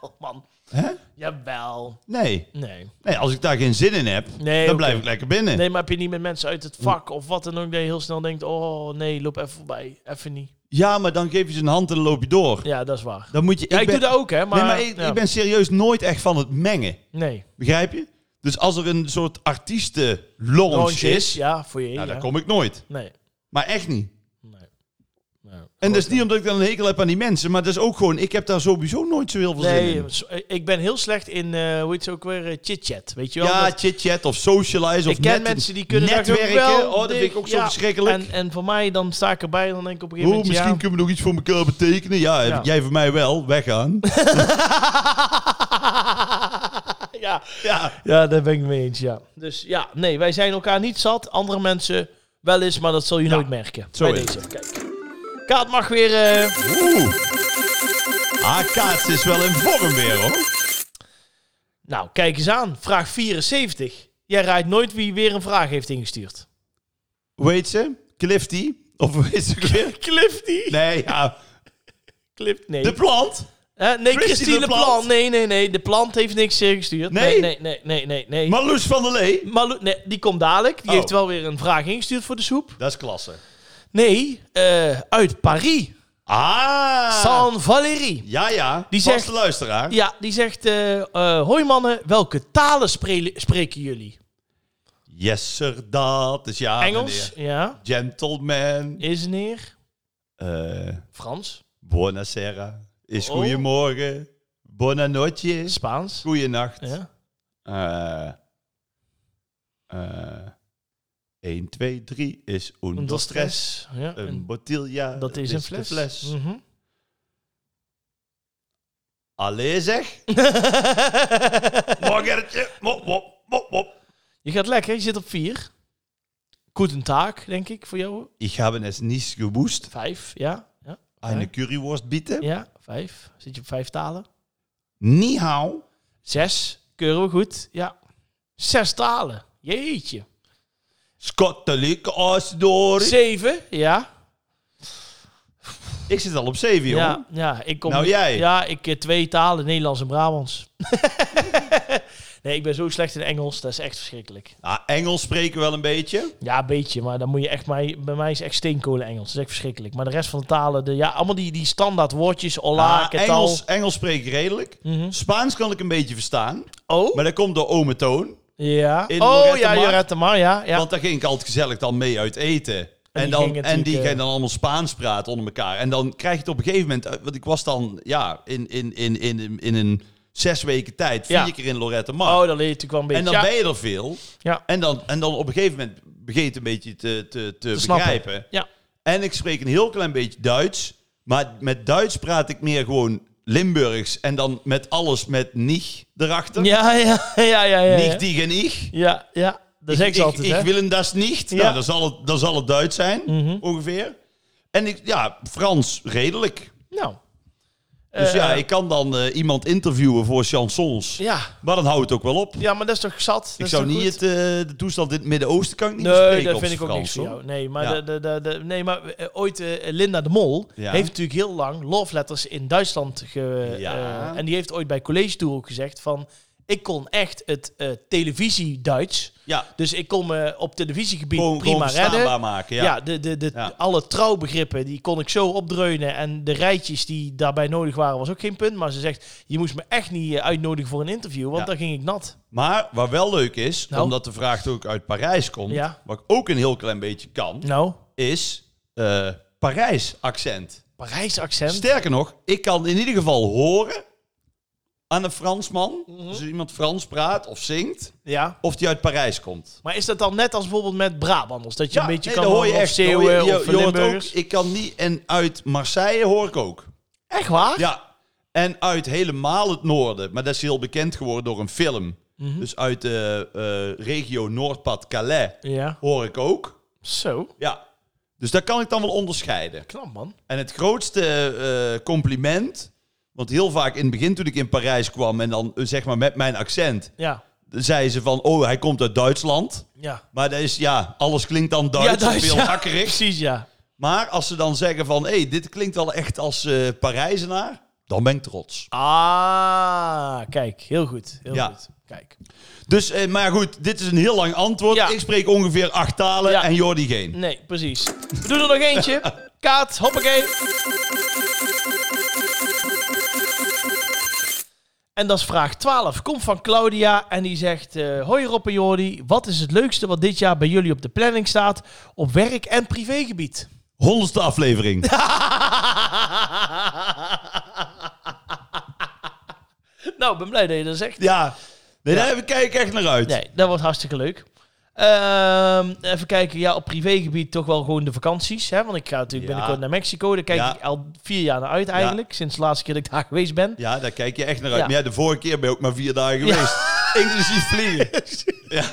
Oh, man. Hè? Jawel. Nee. Nee. nee, als ik daar geen zin in heb, Nee, dan oké. blijf ik lekker binnen. Nee, maar heb je niet met mensen uit Hm. het vak of wat dan ook, dat je heel snel denkt, oh nee, loop even voorbij. Even niet. Ja, maar dan geef je ze een hand en dan loop je door. Ja, dat is waar. Dan moet je, Ja, ik, ben- doe dat ook, hè. Maar, nee, maar ik, ja. ik ben serieus nooit echt van het mengen. Nee. Begrijp je? Dus als er een soort artiesten-launch Lounge is, Ja, voor je. nou, ja. dan kom ik nooit. Nee. Maar echt niet. Nee. Nee. En dat is niet omdat ik dan een hekel heb aan die mensen, maar dat is ook gewoon, ik heb daar sowieso nooit zo heel veel zin in. Nee, zo- ik ben heel slecht in, eh, hoe heet ze ook weer, eh, chit-chat. Weet je wel? Ja, Dat- chit-chat of socialize of ik ken net- mensen die kunnen daar netwerken. gewoon wel oh, dat vind ik dicht- ook zo ja. verschrikkelijk. En, en voor mij, dan sta ik erbij en dan denk ik op een Oh, gegeven misschien moment... ja, kunnen we nog iets voor elkaar betekenen. Ja, heb Ja. ik- jij voor mij wel. Weggaan. ja. ja. ja, daar ben ik mee eens, ja. Dus ja, nee, wij zijn elkaar niet zat. Andere mensen wel eens, maar dat zul je nooit merken. zo Bij is deze. Kijk. Kaat mag weer... eh, Oeh. Ah, Kaats is wel in vorm weer, hoor. nou, kijk eens aan. Vraag 74. Jij raadt nooit wie weer een vraag heeft ingestuurd. Hoe heet ze? Clifty? Of hoe heet ze ook weer? Clifty. Nee. Nee, ja. Clift, nee. De plant. Hè? nee, Christy Christine de de Plant. Plan. Nee, nee, nee. De Plant heeft niks eh, gestuurd. Nee? Nee, nee, nee, nee, nee. nee. Marloes van der Lee. Malou- nee, die komt dadelijk. Die Oh. heeft wel weer een vraag ingestuurd voor de soep. Dat is klasse. Nee, eh, uit Paris. Ah. San Valérie. Ja, ja. Die Vaste zegt- luisteraar. Ja, die zegt... eh, eh, Hoi mannen, welke talen spre- spreken jullie? Yes, sir, dat is ja, Engels? meneer. Ja. Gentleman. Is een heer. Eh, Frans? buonasera. Is Oh. goeiemorgen. Buonanotte. Spaans? Goeienacht. Ja. Eh, eh, 1, 2, 3 is onder Onder stress. stress. Ja. Een en bottiglia. dat is een fles. de fles. Mhm. Allee zeg. Morgertje. Mop, mop, mop, mop. Je gaat lekker, je zit op vier. Goed taak, denk ik, voor jou. Ik heb een eens niet gewoest. Vijf, ja. Ja, Een currywurst bieten. ja vijf. Zit je op vijf talen? Ni hao. Zes, keuren we goed. Ja. Zes talen. Jeetje. Skottelijk als door. Zeven, ja. Ik zit al op 7, joh. Ja, ja, ik kom. Nou, jij? Ja, ik eh, twee talen, Nederlands en Brabants. nee, ik ben zo slecht in Engels, dat is echt verschrikkelijk. Ah, Engels spreken wel een beetje. Ja, een beetje, maar dan moet je echt mij, bij mij is echt steenkolen Engels, dat is echt verschrikkelijk. Maar de rest van de talen, de, ja, allemaal die, die standaard woordjes, hola, Ah, ketal. Engels, Engels spreek ik redelijk. Mhm. Spaans kan ik een beetje verstaan. Oh, Maar dat komt door ome Toon. ja. in Oh, Lorette ja, Mar. Jorette Mar, ja, ja. Want daar ging ik altijd gezellig dan mee uit eten. En En, die dan, ging en die natuurlijk, eh, gaan dan allemaal Spaans praten onder elkaar. En dan krijg je het op een gegeven moment... eh, Want ik was dan ja, in, in, in, in, in een zes weken tijd vier Ja. keer in Lorette Oh, Mar. dan leer je natuurlijk wel een beetje. en dan ja. ben je er veel. Ja. En, dan, en dan op een gegeven moment begin je het een beetje te, te, te, Te snappen. begrijpen. Ja. En ik spreek een heel klein beetje Duits. Maar met Duits praat ik meer gewoon Limburgs. En dan met alles met nicht erachter. Ja, ja, ja, ja. ja, ja. Nicht tegen ich. Ja, ja. Dat zeg Ik, ze altijd, ik hè? wil hem das nicht. Ja. Mhm. Nou, dan zal het, dan zal het Duits zijn, ongeveer. En ik, ja, Frans redelijk. Nou. Dus Eh, ja, ik kan dan eh, iemand interviewen voor chansons. Ja. Maar dan houdt het ook wel op. ja, maar dat is toch zat? Dat ik is zou toch niet goed? het, eh, de toestand in het Midden-Oosten kan ik niet Nee, bespreken dat op vind ik ook Frans, niks voor hoor. jou. Nee, maar, Ja. de, de, de, de- nee, maar eh, ooit eh, Linda de Mol Ja. heeft natuurlijk heel lang love letters in Duitsland ge... Ja. eh, en die heeft ooit bij College Tour ook gezegd van... Ik kon echt het eh, televisie-Duits. Ja, Dus ik kon me op televisiegebied gewoon, gewoon prima redden. verstaanbaar maken. Ja, Ja. de, de, de, Ja. alle trouwbegrippen, die kon ik zo opdreunen. En de rijtjes die daarbij nodig waren, was ook geen punt. Maar ze zegt, je moest me echt niet eh, uitnodigen voor een interview, want Ja. dan ging ik nat. Maar wat wel leuk is, Nou. omdat de vraag toch ook uit Parijs komt... Ja. wat ik ook een heel klein beetje kan, Nou, is eh, Parijs-accent. Parijs accent. Sterker nog, ik kan in ieder geval horen aan een Fransman, Mhm. dus iemand Frans praat of zingt, Ja. of die uit Parijs komt. Maar is dat dan net als bijvoorbeeld met Brabanders? Dat je een beetje nee, kan dan horen of dan hoor Zeeuwen je- je- of je hoort ook, Limburgers? ik kan niet, en uit Marseille hoor ik ook. Echt waar? Ja, en uit helemaal het noorden, maar dat is heel bekend geworden door een film. Mhm. Dus uit de eh, regio Noordpad-Calais Ja. hoor ik ook. Zo. Ja, dus dat kan ik dan wel onderscheiden. Knap, man. En het grootste eh, compliment. Want heel vaak in het begin toen ik in Parijs kwam en dan eh, zeg maar met mijn accent. Ja. dan Zeiden ze van, oh hij komt uit Duitsland. Ja. Maar dat is, ja, alles klinkt dan Duits. ja, of Duits, heel ja. hakkerig. Precies, ja. Maar als ze dan zeggen van, hé, hey, dit klinkt wel echt als eh, Parijzenaar. Dan ben ik trots. Ah, kijk. Heel goed. Heel Ja. goed. Kijk. Dus, eh, maar goed, dit is een heel lang antwoord. Ja. Ik spreek ongeveer acht talen Ja. en Jordi geen. Nee, precies. We doen er nog eentje. Kaat, hoppakee. En dat is vraag 12. Komt van Claudia en die zegt... eh, Hoi Rob en Jordi, wat is het leukste wat dit jaar bij jullie op de planning staat... op werk- en privégebied? Honderdste aflevering. nou, ik ben blij dat je dat zegt. ja, nee, daar heb ik- kijk ik echt naar uit. Nee, dat wordt hartstikke leuk. Ehm, even kijken, ja, op privégebied toch wel gewoon de vakanties. Hè? Want ik ga natuurlijk Ja. binnenkort naar Mexico. Daar kijk Ja. ik al vier jaar naar uit eigenlijk. Sinds de laatste keer dat ik daar geweest ben. Ja, daar kijk je echt naar uit. Ja. Maar ja, de vorige keer ben je ook maar vier dagen Ja. geweest. Inclusief vliegen. ja.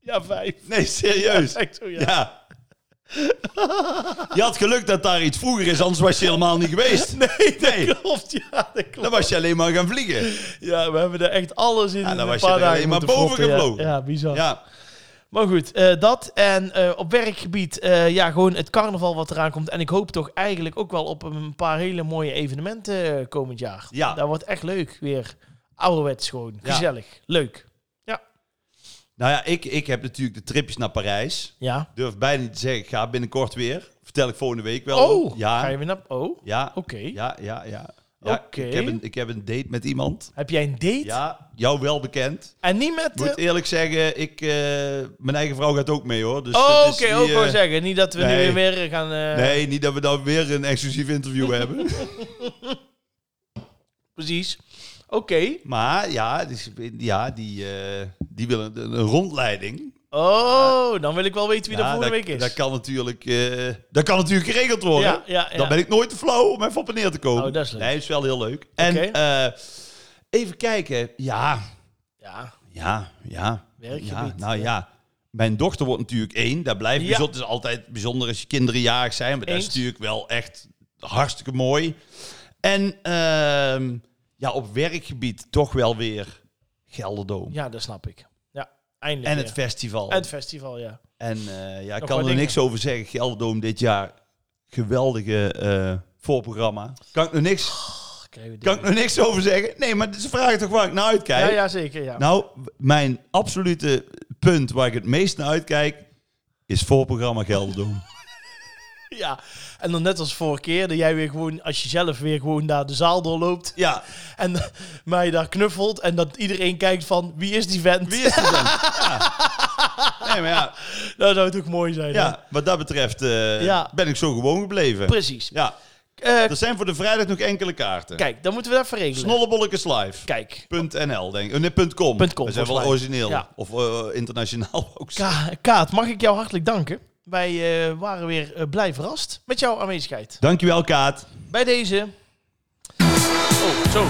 Ja, vijf. Nee, serieus. Echt zo, ja. Dus- Ja. Je had geluk dat daar iets vroeger is, anders was je helemaal niet geweest. Nee, nee. Klopt, ja, dat klopt. Dan was je alleen maar gaan vliegen. Ja, we hebben er echt alles in. dan een was je paar dagen er nou, alleen maar moeten boven vlotten, ja. gevlogen. Ja, bizar. Ja. Maar goed, eh, dat. En eh, op werkgebied, eh, ja, gewoon het carnaval wat eraan komt. En ik hoop toch eigenlijk ook wel op een paar hele mooie evenementen eh, komend jaar. Ja. Dat wordt echt leuk weer. Ouderwets gewoon. Ja. Gezellig. Leuk. Ja. Nou ja, ik, ik heb natuurlijk de tripjes naar Parijs. Ja. Durf bijna niet te zeggen, ik ga binnenkort weer. Vertel ik volgende week wel. Oh, ja. ga je weer naar... Oh, Ja. Oké. Ja, ja, ja. ja Oké. ik, heb een, ik heb een date met iemand. heb jij een date? Ja, jou wel bekend. En niet met... Ik moet de... eerlijk zeggen, ik, eh, mijn eigen vrouw gaat ook mee hoor. Dus Oh, dat oké. is niet, ook eh, wel zeggen. Niet dat we nee. nu weer weer gaan... eh, Nee, niet dat we dan weer een exclusief interview hebben. Precies. Oké. Maar ja, dus, ja die, eh, die willen een, een rondleiding. Oh, dan wil ik wel weten wie Ja, dat dat, volgende week is. Dat kan, natuurlijk, eh, dat kan natuurlijk geregeld worden. Ja, ja, ja. Dan ben ik nooit te flauw om even op en neer te komen. Oh, dat is leuk. Nee, is wel heel leuk. En Oké. eh, even kijken. Ja, Ja. ja, ja. Werkgebied, Ja, nou ja. Mijn dochter wordt natuurlijk één. Dat blijft Ja. bijzonder. Het is altijd bijzonder als je kinderen jarig zijn. Maar dat is Eens. natuurlijk wel echt hartstikke mooi. En ehm, ja, op werkgebied toch wel weer Gelderdoom. Ja, dat snap ik. Ja, eindelijk en weer. het festival. En het festival, ja. en eh, ja, ik Nog kan er wat niks over zeggen. Gelderdoom dit jaar. Geweldige eh, voorprogramma. Kan ik, er niks, Ach, krijgen we dit kan ik er niks over zeggen? Nee, maar ze vragen toch waar ik naar uitkijk? Ja, ja, zeker. Ja. Nou, w- mijn absolute punt waar ik het meest naar uitkijk is voorprogramma Gelderdoom. ja. En dan net als vorige keer, dat jij weer gewoon, als je zelf weer gewoon daar de zaal doorloopt Ja, en mij daar knuffelt en dat iedereen kijkt van, wie is die vent? wie is dat dan? Ja. Nee, maar ja, Dat zou natuurlijk mooi zijn. hè? ja wat dat betreft eh, Ja. ben ik zo gewoon gebleven. Precies. Ja, Eh, er zijn voor de vrijdag nog enkele kaarten. kijk, dan moeten we dat even regelen. Snollebollekeslive. Kijk. .nl, denk ik. Oh, nee, .com. Punt com, We zijn volgens wel mij. origineel. Ja. Of eh, internationaal ook. Ka- Kaat, mag ik jou hartelijk danken. Wij eh, waren weer eh, blij verrast met jouw aanwezigheid. Dankjewel, Kaat. Bij deze. Oh, zo.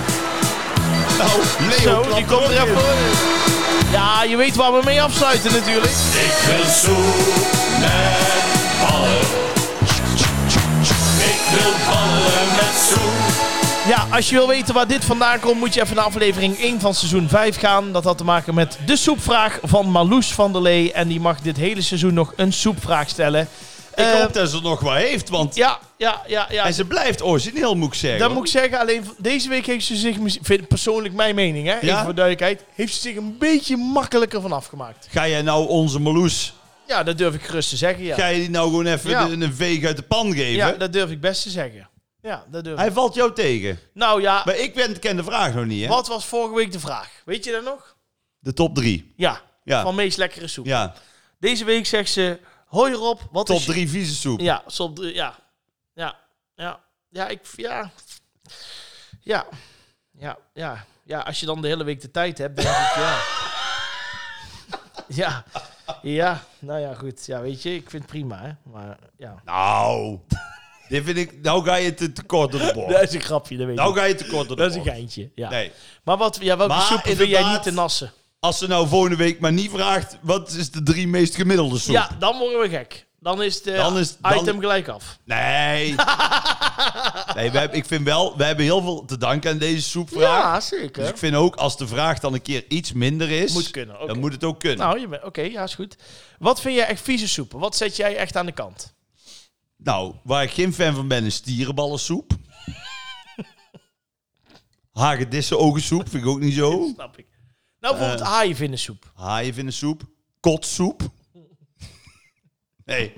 Nou, Leo, Zo, die komt er even. voor. Ja, je weet waar we mee afsluiten natuurlijk. Ik wil zoen met ballen. Ik wil ballen met zoen. Ja, als je wil weten waar dit vandaan komt, moet je even naar aflevering 1 van seizoen 5 gaan. Dat had te maken met de soepvraag van Marloes van der Lee. En die mag dit hele seizoen nog een soepvraag stellen. Ik Eh, hoop dat ze er nog wat heeft, want... Ja, ja, ja, ja. En ze blijft origineel, moet ik zeggen. Dat moet ik zeggen, alleen v- deze week heeft ze zich, mis- vind ik persoonlijk mijn mening, hè, even Ja? voor duidelijkheid, heeft ze zich een beetje makkelijker van afgemaakt. Ga jij nou onze Marloes, Ja, dat durf ik gerust te zeggen, ja. ga je die nou gewoon even Ja. de- een veeg uit de pan geven? Ja, dat durf ik best te zeggen. Ja, dat durf ik. Hij valt jou tegen. Nou ja, Maar ik ben, ken de vraag nog niet, hè? wat was vorige week de vraag? Weet je dat nog? De top drie. Ja, Ja. van meest lekkere soep. Ja, Deze week zegt ze, hoi Rob, wat top is... je- drie vieze soep. Ja, top drie, ja. Ja, ja. Ja, ik... Ja. Ja. Ja, ja. Ja, als je dan de hele week de tijd hebt, denk ik, ja. Ja. Ja, nou ja, goed. Ja, weet je, ik vind het prima, hè. Maar, ja. Nou, dit vind ik... Nou ga je te tekort door de bocht. Dat is een grapje, dat weet Nou ik. ga je tekort door de Dat is bocht. een geintje, ja. Nee. Maar wat, ja, welke Maar soep vind jij niet inderdaad- te nassen? Als ze nou volgende week maar niet vraagt... Wat is de drie meest gemiddelde soep? Ja, dan worden we gek. Dan is het eh, Dan is- dan- item gelijk af. Nee. nee, wij, ik vind wel... We hebben heel veel te danken aan deze soepvraag. Ja, Dus zeker. ik vind ook, als de vraag dan een keer iets minder is... Moet kunnen, oké. Dan moet het ook kunnen. Nou, Nou, je bent- oké, ja, is goed. Wat vind jij echt vieze soepen? Wat zet jij echt aan de kant? Nou, waar ik geen fan van ben, is stierenballensoep. Hagedissen ogensoep vind ik ook niet zo. Snap ik. Nou, bijvoorbeeld haaien vinden soep. Haaien vinden soep. Kotsoep. Nee.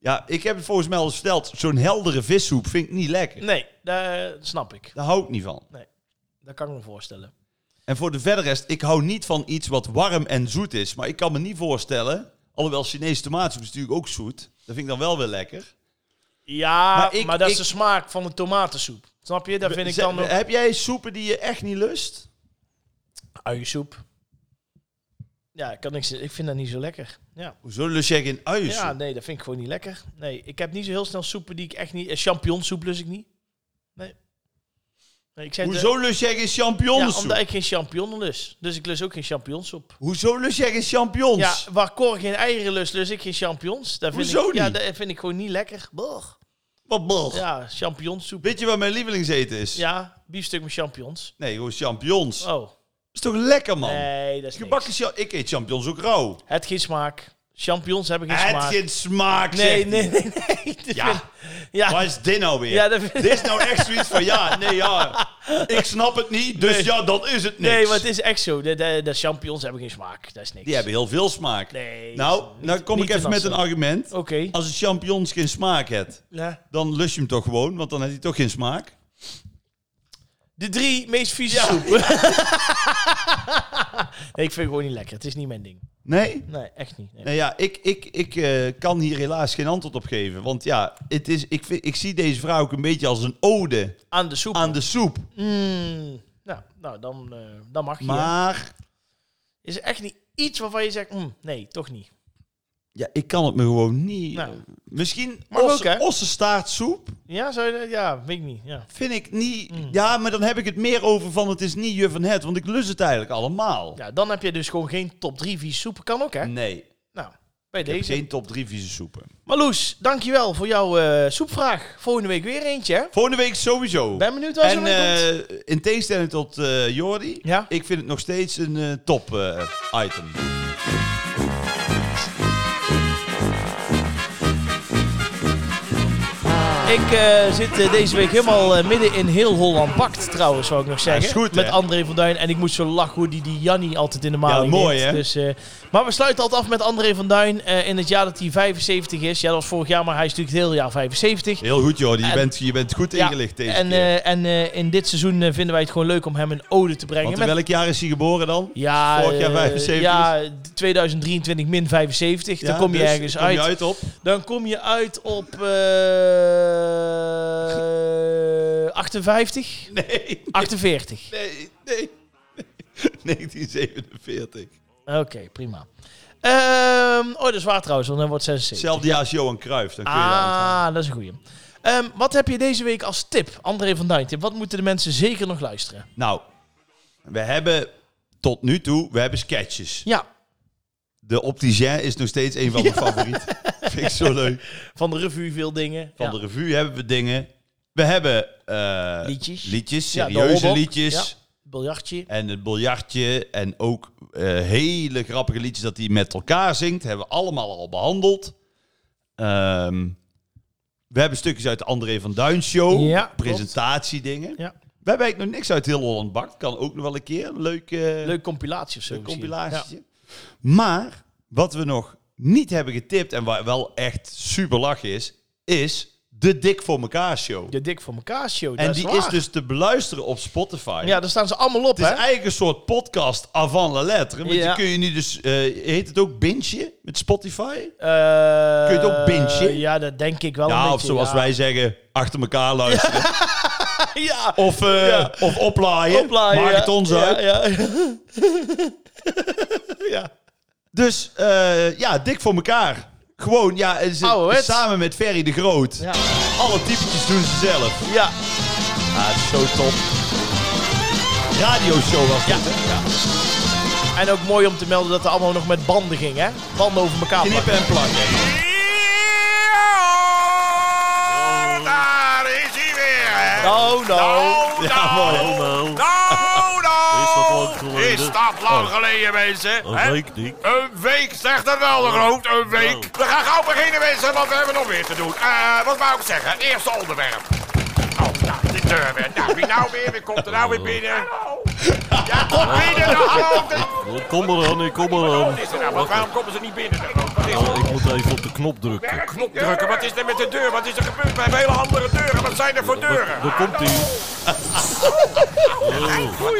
Ja, ik heb het volgens mij al eens verteld. Zo'n heldere vissoep vind ik niet lekker. Nee, dat snap ik. Daar hou ik niet van. Dat kan ik me voorstellen. En voor de verder rest, ik hou niet van iets wat warm en zoet is. Maar ik kan me niet voorstellen, alhoewel Chinese tomaatsoep is natuurlijk ook zoet. Dat vind ik dan wel weer lekker. Ja, maar, Maar ik- dat ik- is de smaak van de tomatensoep. Snap je? Dat vind ik Ze- dan ook... Heb jij soepen die je echt niet lust? Uiensoep. Ja, ik kan niks... Ik vind dat niet zo lekker. Ja. Hoezo lust jij geen uiensoep? ja, nee, dat vind ik gewoon niet lekker. Nee, ik heb niet zo heel snel soepen die ik echt niet... Eh, champignonsoep lust ik niet. Nee. nee ik zei het, Hoezo lust jij geen eh, champignonsoep? Ja, omdat ik geen champignon lust. Dus ik lust ook geen champignonsoep. Hoezo lust jij geen champignons? Ja, waar Cor geen eieren lust, lust ik geen champignons. Dat vind Hoezo ik, Ja, niet? dat vind ik gewoon niet lekker. Brr. Wat blog. Ja, champignonsoep. Weet je wat mijn lievelingseten is? Ja, biefstuk met champignons. Nee, gewoon champignons. Oh, Is toch lekker, man? nee, dat is Gebakken niks. cha- Ik eet champignons ook rauw. Het geen smaak. Champignons hebben geen Het smaak. geen smaak, nee, zegt nee, hij. nee, nee. Dat vind- Ja, ja. wat is dit nou weer? Ja, dat vind- Dit is nou echt zoiets van, ja, nee, ja. Ik snap het niet, dus ja, dan is het niks. Nee, maar het is echt zo. De, de, de champignons hebben geen smaak. Dat is niks. Die hebben heel veel smaak. Nee. nou, niet- dan kom niet ik even te met een nassen. argument. Oké. Als een champignons geen smaak heeft, Ja. dan lust je hem toch gewoon, want dan heeft hij toch geen smaak. De drie meest vieze Ja. soepen. nee, ik vind het gewoon niet lekker. Het is niet mijn ding. Nee? Nee, echt niet. Nee. Nou ja, ik, ik, ik eh, kan hier helaas geen antwoord op geven. Want ja, het is, ik, vind- ik zie deze vraag ook een beetje als een ode Aan de soep. aan de soep. Mm, nou, nou, dan, eh, dan mag je. hè. Maar Is er echt niet iets waarvan je zegt, mm, nee, toch niet. ja, ik kan het me gewoon niet... Nou. Misschien Mag osse- ook, hè? ossenstaartsoep Ja, zou je dat? Ja, weet ik niet. Ja. vind ik niet... Mm. Ja, maar dan heb ik het meer over van het is niet juf en het. Want ik lust het eigenlijk allemaal. ja, dan heb je dus gewoon geen top 3 vies soepen. Kan ook, hè? Nee, Nou, bij Mm. ik heb deze. geen top drie vieze soepen. Marloes, dankjewel voor jouw eh, soepvraag. Volgende week weer eentje, hè? Volgende week sowieso. Ben benieuwd waar ze en mee komt. eh, in tegenstelling tot eh, Jordi, Ja? ik vind het nog steeds een eh, top eh, item. Ah, Ik eh, zit eh, deze week helemaal eh, midden in heel Holland bakt, trouwens, zou ik nog zeggen. is goed, hè? Met André van Duin. En ik moest zo lachen hoe die, die Jannie altijd in de maling Ja, mooi, neemt. hè? Dus, eh, maar we sluiten altijd af met André van Duin eh, in het jaar dat hij 75 is. Ja, dat was vorig jaar, maar hij is natuurlijk het hele jaar 75. Heel goed, Jordi. Je, En- bent, je bent goed ingelicht ja, deze en keer. eh, en eh, in dit seizoen eh, vinden wij het gewoon leuk om hem een ode te brengen. Want in Met- welk jaar is hij geboren dan? ja, vorig jaar eh, 75 Ja, 2023 min 75. dan Ja, kom je dus ergens kom je uit. uit op? Dan kom je uit op eh 58? Nee, 48. nee, nee. 1947. Oké, prima. Ehm, oh, dat is waar trouwens, want dan wordt 76. Hetzelfde jaar als Johan Cruijff. Dan kun je dat onthouden. Ah, dat is een goeie. Ehm, wat heb je deze week als tip, André van Duin? Tip, wat moeten de mensen zeker nog luisteren? Nou, we hebben tot nu toe, we hebben sketches. Ja, De opticien is nog steeds een van mijn favorieten. Vind ik zo leuk. van de revue veel dingen. Van ja. de revue hebben we dingen. We hebben eh, Liedjes. liedjes, Ja, de serieuze Hobbok. liedjes. Ja, biljartje. En het biljartje. En ook eh, hele grappige liedjes dat hij met elkaar zingt. Hebben we allemaal al behandeld. Ehm, we hebben stukjes uit de André van Duin show. Ja, klopt. presentatiedingen. Ja. We hebben eigenlijk nog niks uit heel Holland Bakt. Kan ook nog wel een keer. Een leuk, eh, Leuk compilatie of zo. een misschien. compilatie. Maar wat we nog niet hebben getipt en waar wel echt super lach is, is de Dik voor elkaar show. Ja. De Dik voor elkaar show. dat en die waar. is dus te beluisteren op Spotify. Ja, daar staan ze allemaal op, Het hè? is eigenlijk een soort podcast avant la lettre. Want Ja. je kun je nu dus, eh, heet het ook Binge met Spotify? Eh, Kun je het ook bingen? Ja, dat denk ik wel. een ja, beetje, of zoals ja. wij zeggen, achter elkaar luisteren. ja, Of, eh, Ja. of oplaaien. oplaaien, Maak ja. het ons ja, uit. Ja, ja. Dus eh, ja, dik voor elkaar. Gewoon, ja, het is- Ouderwets. samen met Ferry de Groot. Ja. Alle typetjes doen ze zelf. Ja. Ah, zo top. Radioshow was Ja. dit, hè? En ook mooi om te melden dat er allemaal nog met banden ging, hè? Banden over elkaar. Knippen en plakken. Ja, daar is hij weer, hè? plakken. Oh, no. Nou, Ja, nou, mooi. Hallo. nou, nou. Is dat lang geleden? Is dat lang Oh. geleden, mensen? Een hè? week, Dick. Een week, zegt dat wel de groot, een week. Nou. We gaan gauw beginnen, mensen, want we hebben nog weer te doen. Eh, wat wou ik zeggen? Eerste onderwerp. Oh, nou, dit deur weer. Nou, wie nou weer? Wie komt er nou weer binnen? Ja, kom binnen, nou, hallo. Kom eraan, ik kom eraan. Wat is er nou? Want waarom komen ze niet binnen? dan? Wat is er? Nou, ik moet even op de knop drukken. Een knop drukken. Wat is er met de deur? Wat is er gebeurd? We hebben hele andere deuren. Wat zijn er voor deuren? Daar komt hij.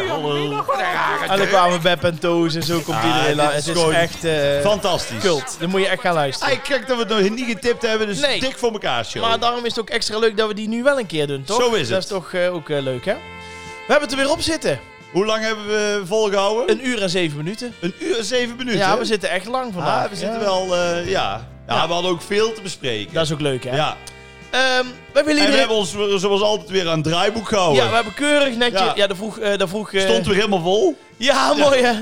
Hallo. Wat een rare En dan deur. kwamen Beb en Toos en zo komt iedereen. Ah, dit la- is Het is gewoon echt eh Fantastisch. kult. Dan moet je echt gaan luisteren. Hij kijkt dat we het nog niet getipt hebben, dus Nee. dik voor elkaar show. Maar daarom is het ook extra leuk dat we die nu wel een keer doen, toch? Zo is het. Dat is toch eh, ook eh, leuk, hè? We hebben het er weer op zitten. Hoe lang hebben we volgehouden? Een uur en zeven minuten. Een uur en zeven minuten. Ja, we zitten echt lang vandaag. Ah, we zitten Ja. wel, eh, ja. ja. Ja. we hadden ook veel te bespreken. Dat is ook leuk, hè? ja. Ehm, wij willen En we iedereen... hebben ons weer- zoals altijd weer aan het draaiboek gehouden. Ja, we hebben keurig netjes. Ja, Ja. daar vroeg. eh, daar vroeg eh, Stond weer helemaal vol. Ja, mooi hè.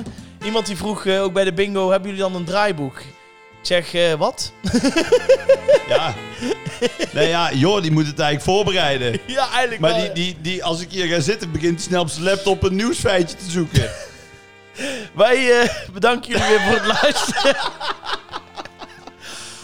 Iemand die vroeg eh, ook bij de bingo: hebben jullie dan een draaiboek? Ik zeg, eh, wat? Ja. nee, ja, joh, die moet het eigenlijk voorbereiden. Ja, eigenlijk Maar wel, die, die, die, als ik hier ga zitten, begint hij snel op zijn laptop een nieuwsfeitje te zoeken. ja. Wij eh, bedanken jullie weer voor het luisteren.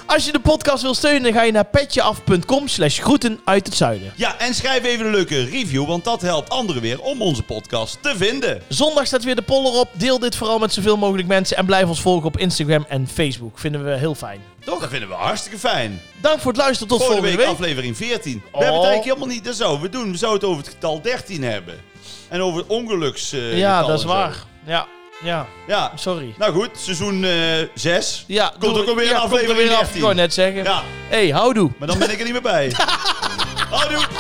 Als je de podcast wil steunen, dan ga je naar petjeaf.com slash groeten uit het zuiden. Ja, en schrijf even een leuke review, want dat helpt anderen weer om onze podcast te vinden. Zondag staat weer de poller op. Deel dit vooral met zoveel mogelijk mensen en blijf ons volgen op Instagram en Facebook. Vinden we heel fijn. Toch? Dat vinden we hartstikke fijn. Dank voor het luisteren. Tot Volgende week, volgende week. aflevering 14. We Oh. hebben het eigenlijk helemaal niet dat zouden we doen. We zouden het over het getal 13 hebben. En over het ongeluks. eh, ja, getal dat is en zo. waar. Ja, ja, Ja. sorry. Nou goed, seizoen eh, 6. Ja, Komt ook alweer ja, aflevering komt er weer af. 13. Ik wou net zeggen. Ja, hey, houdoe. maar dan ben ik er niet meer bij. Houdoe!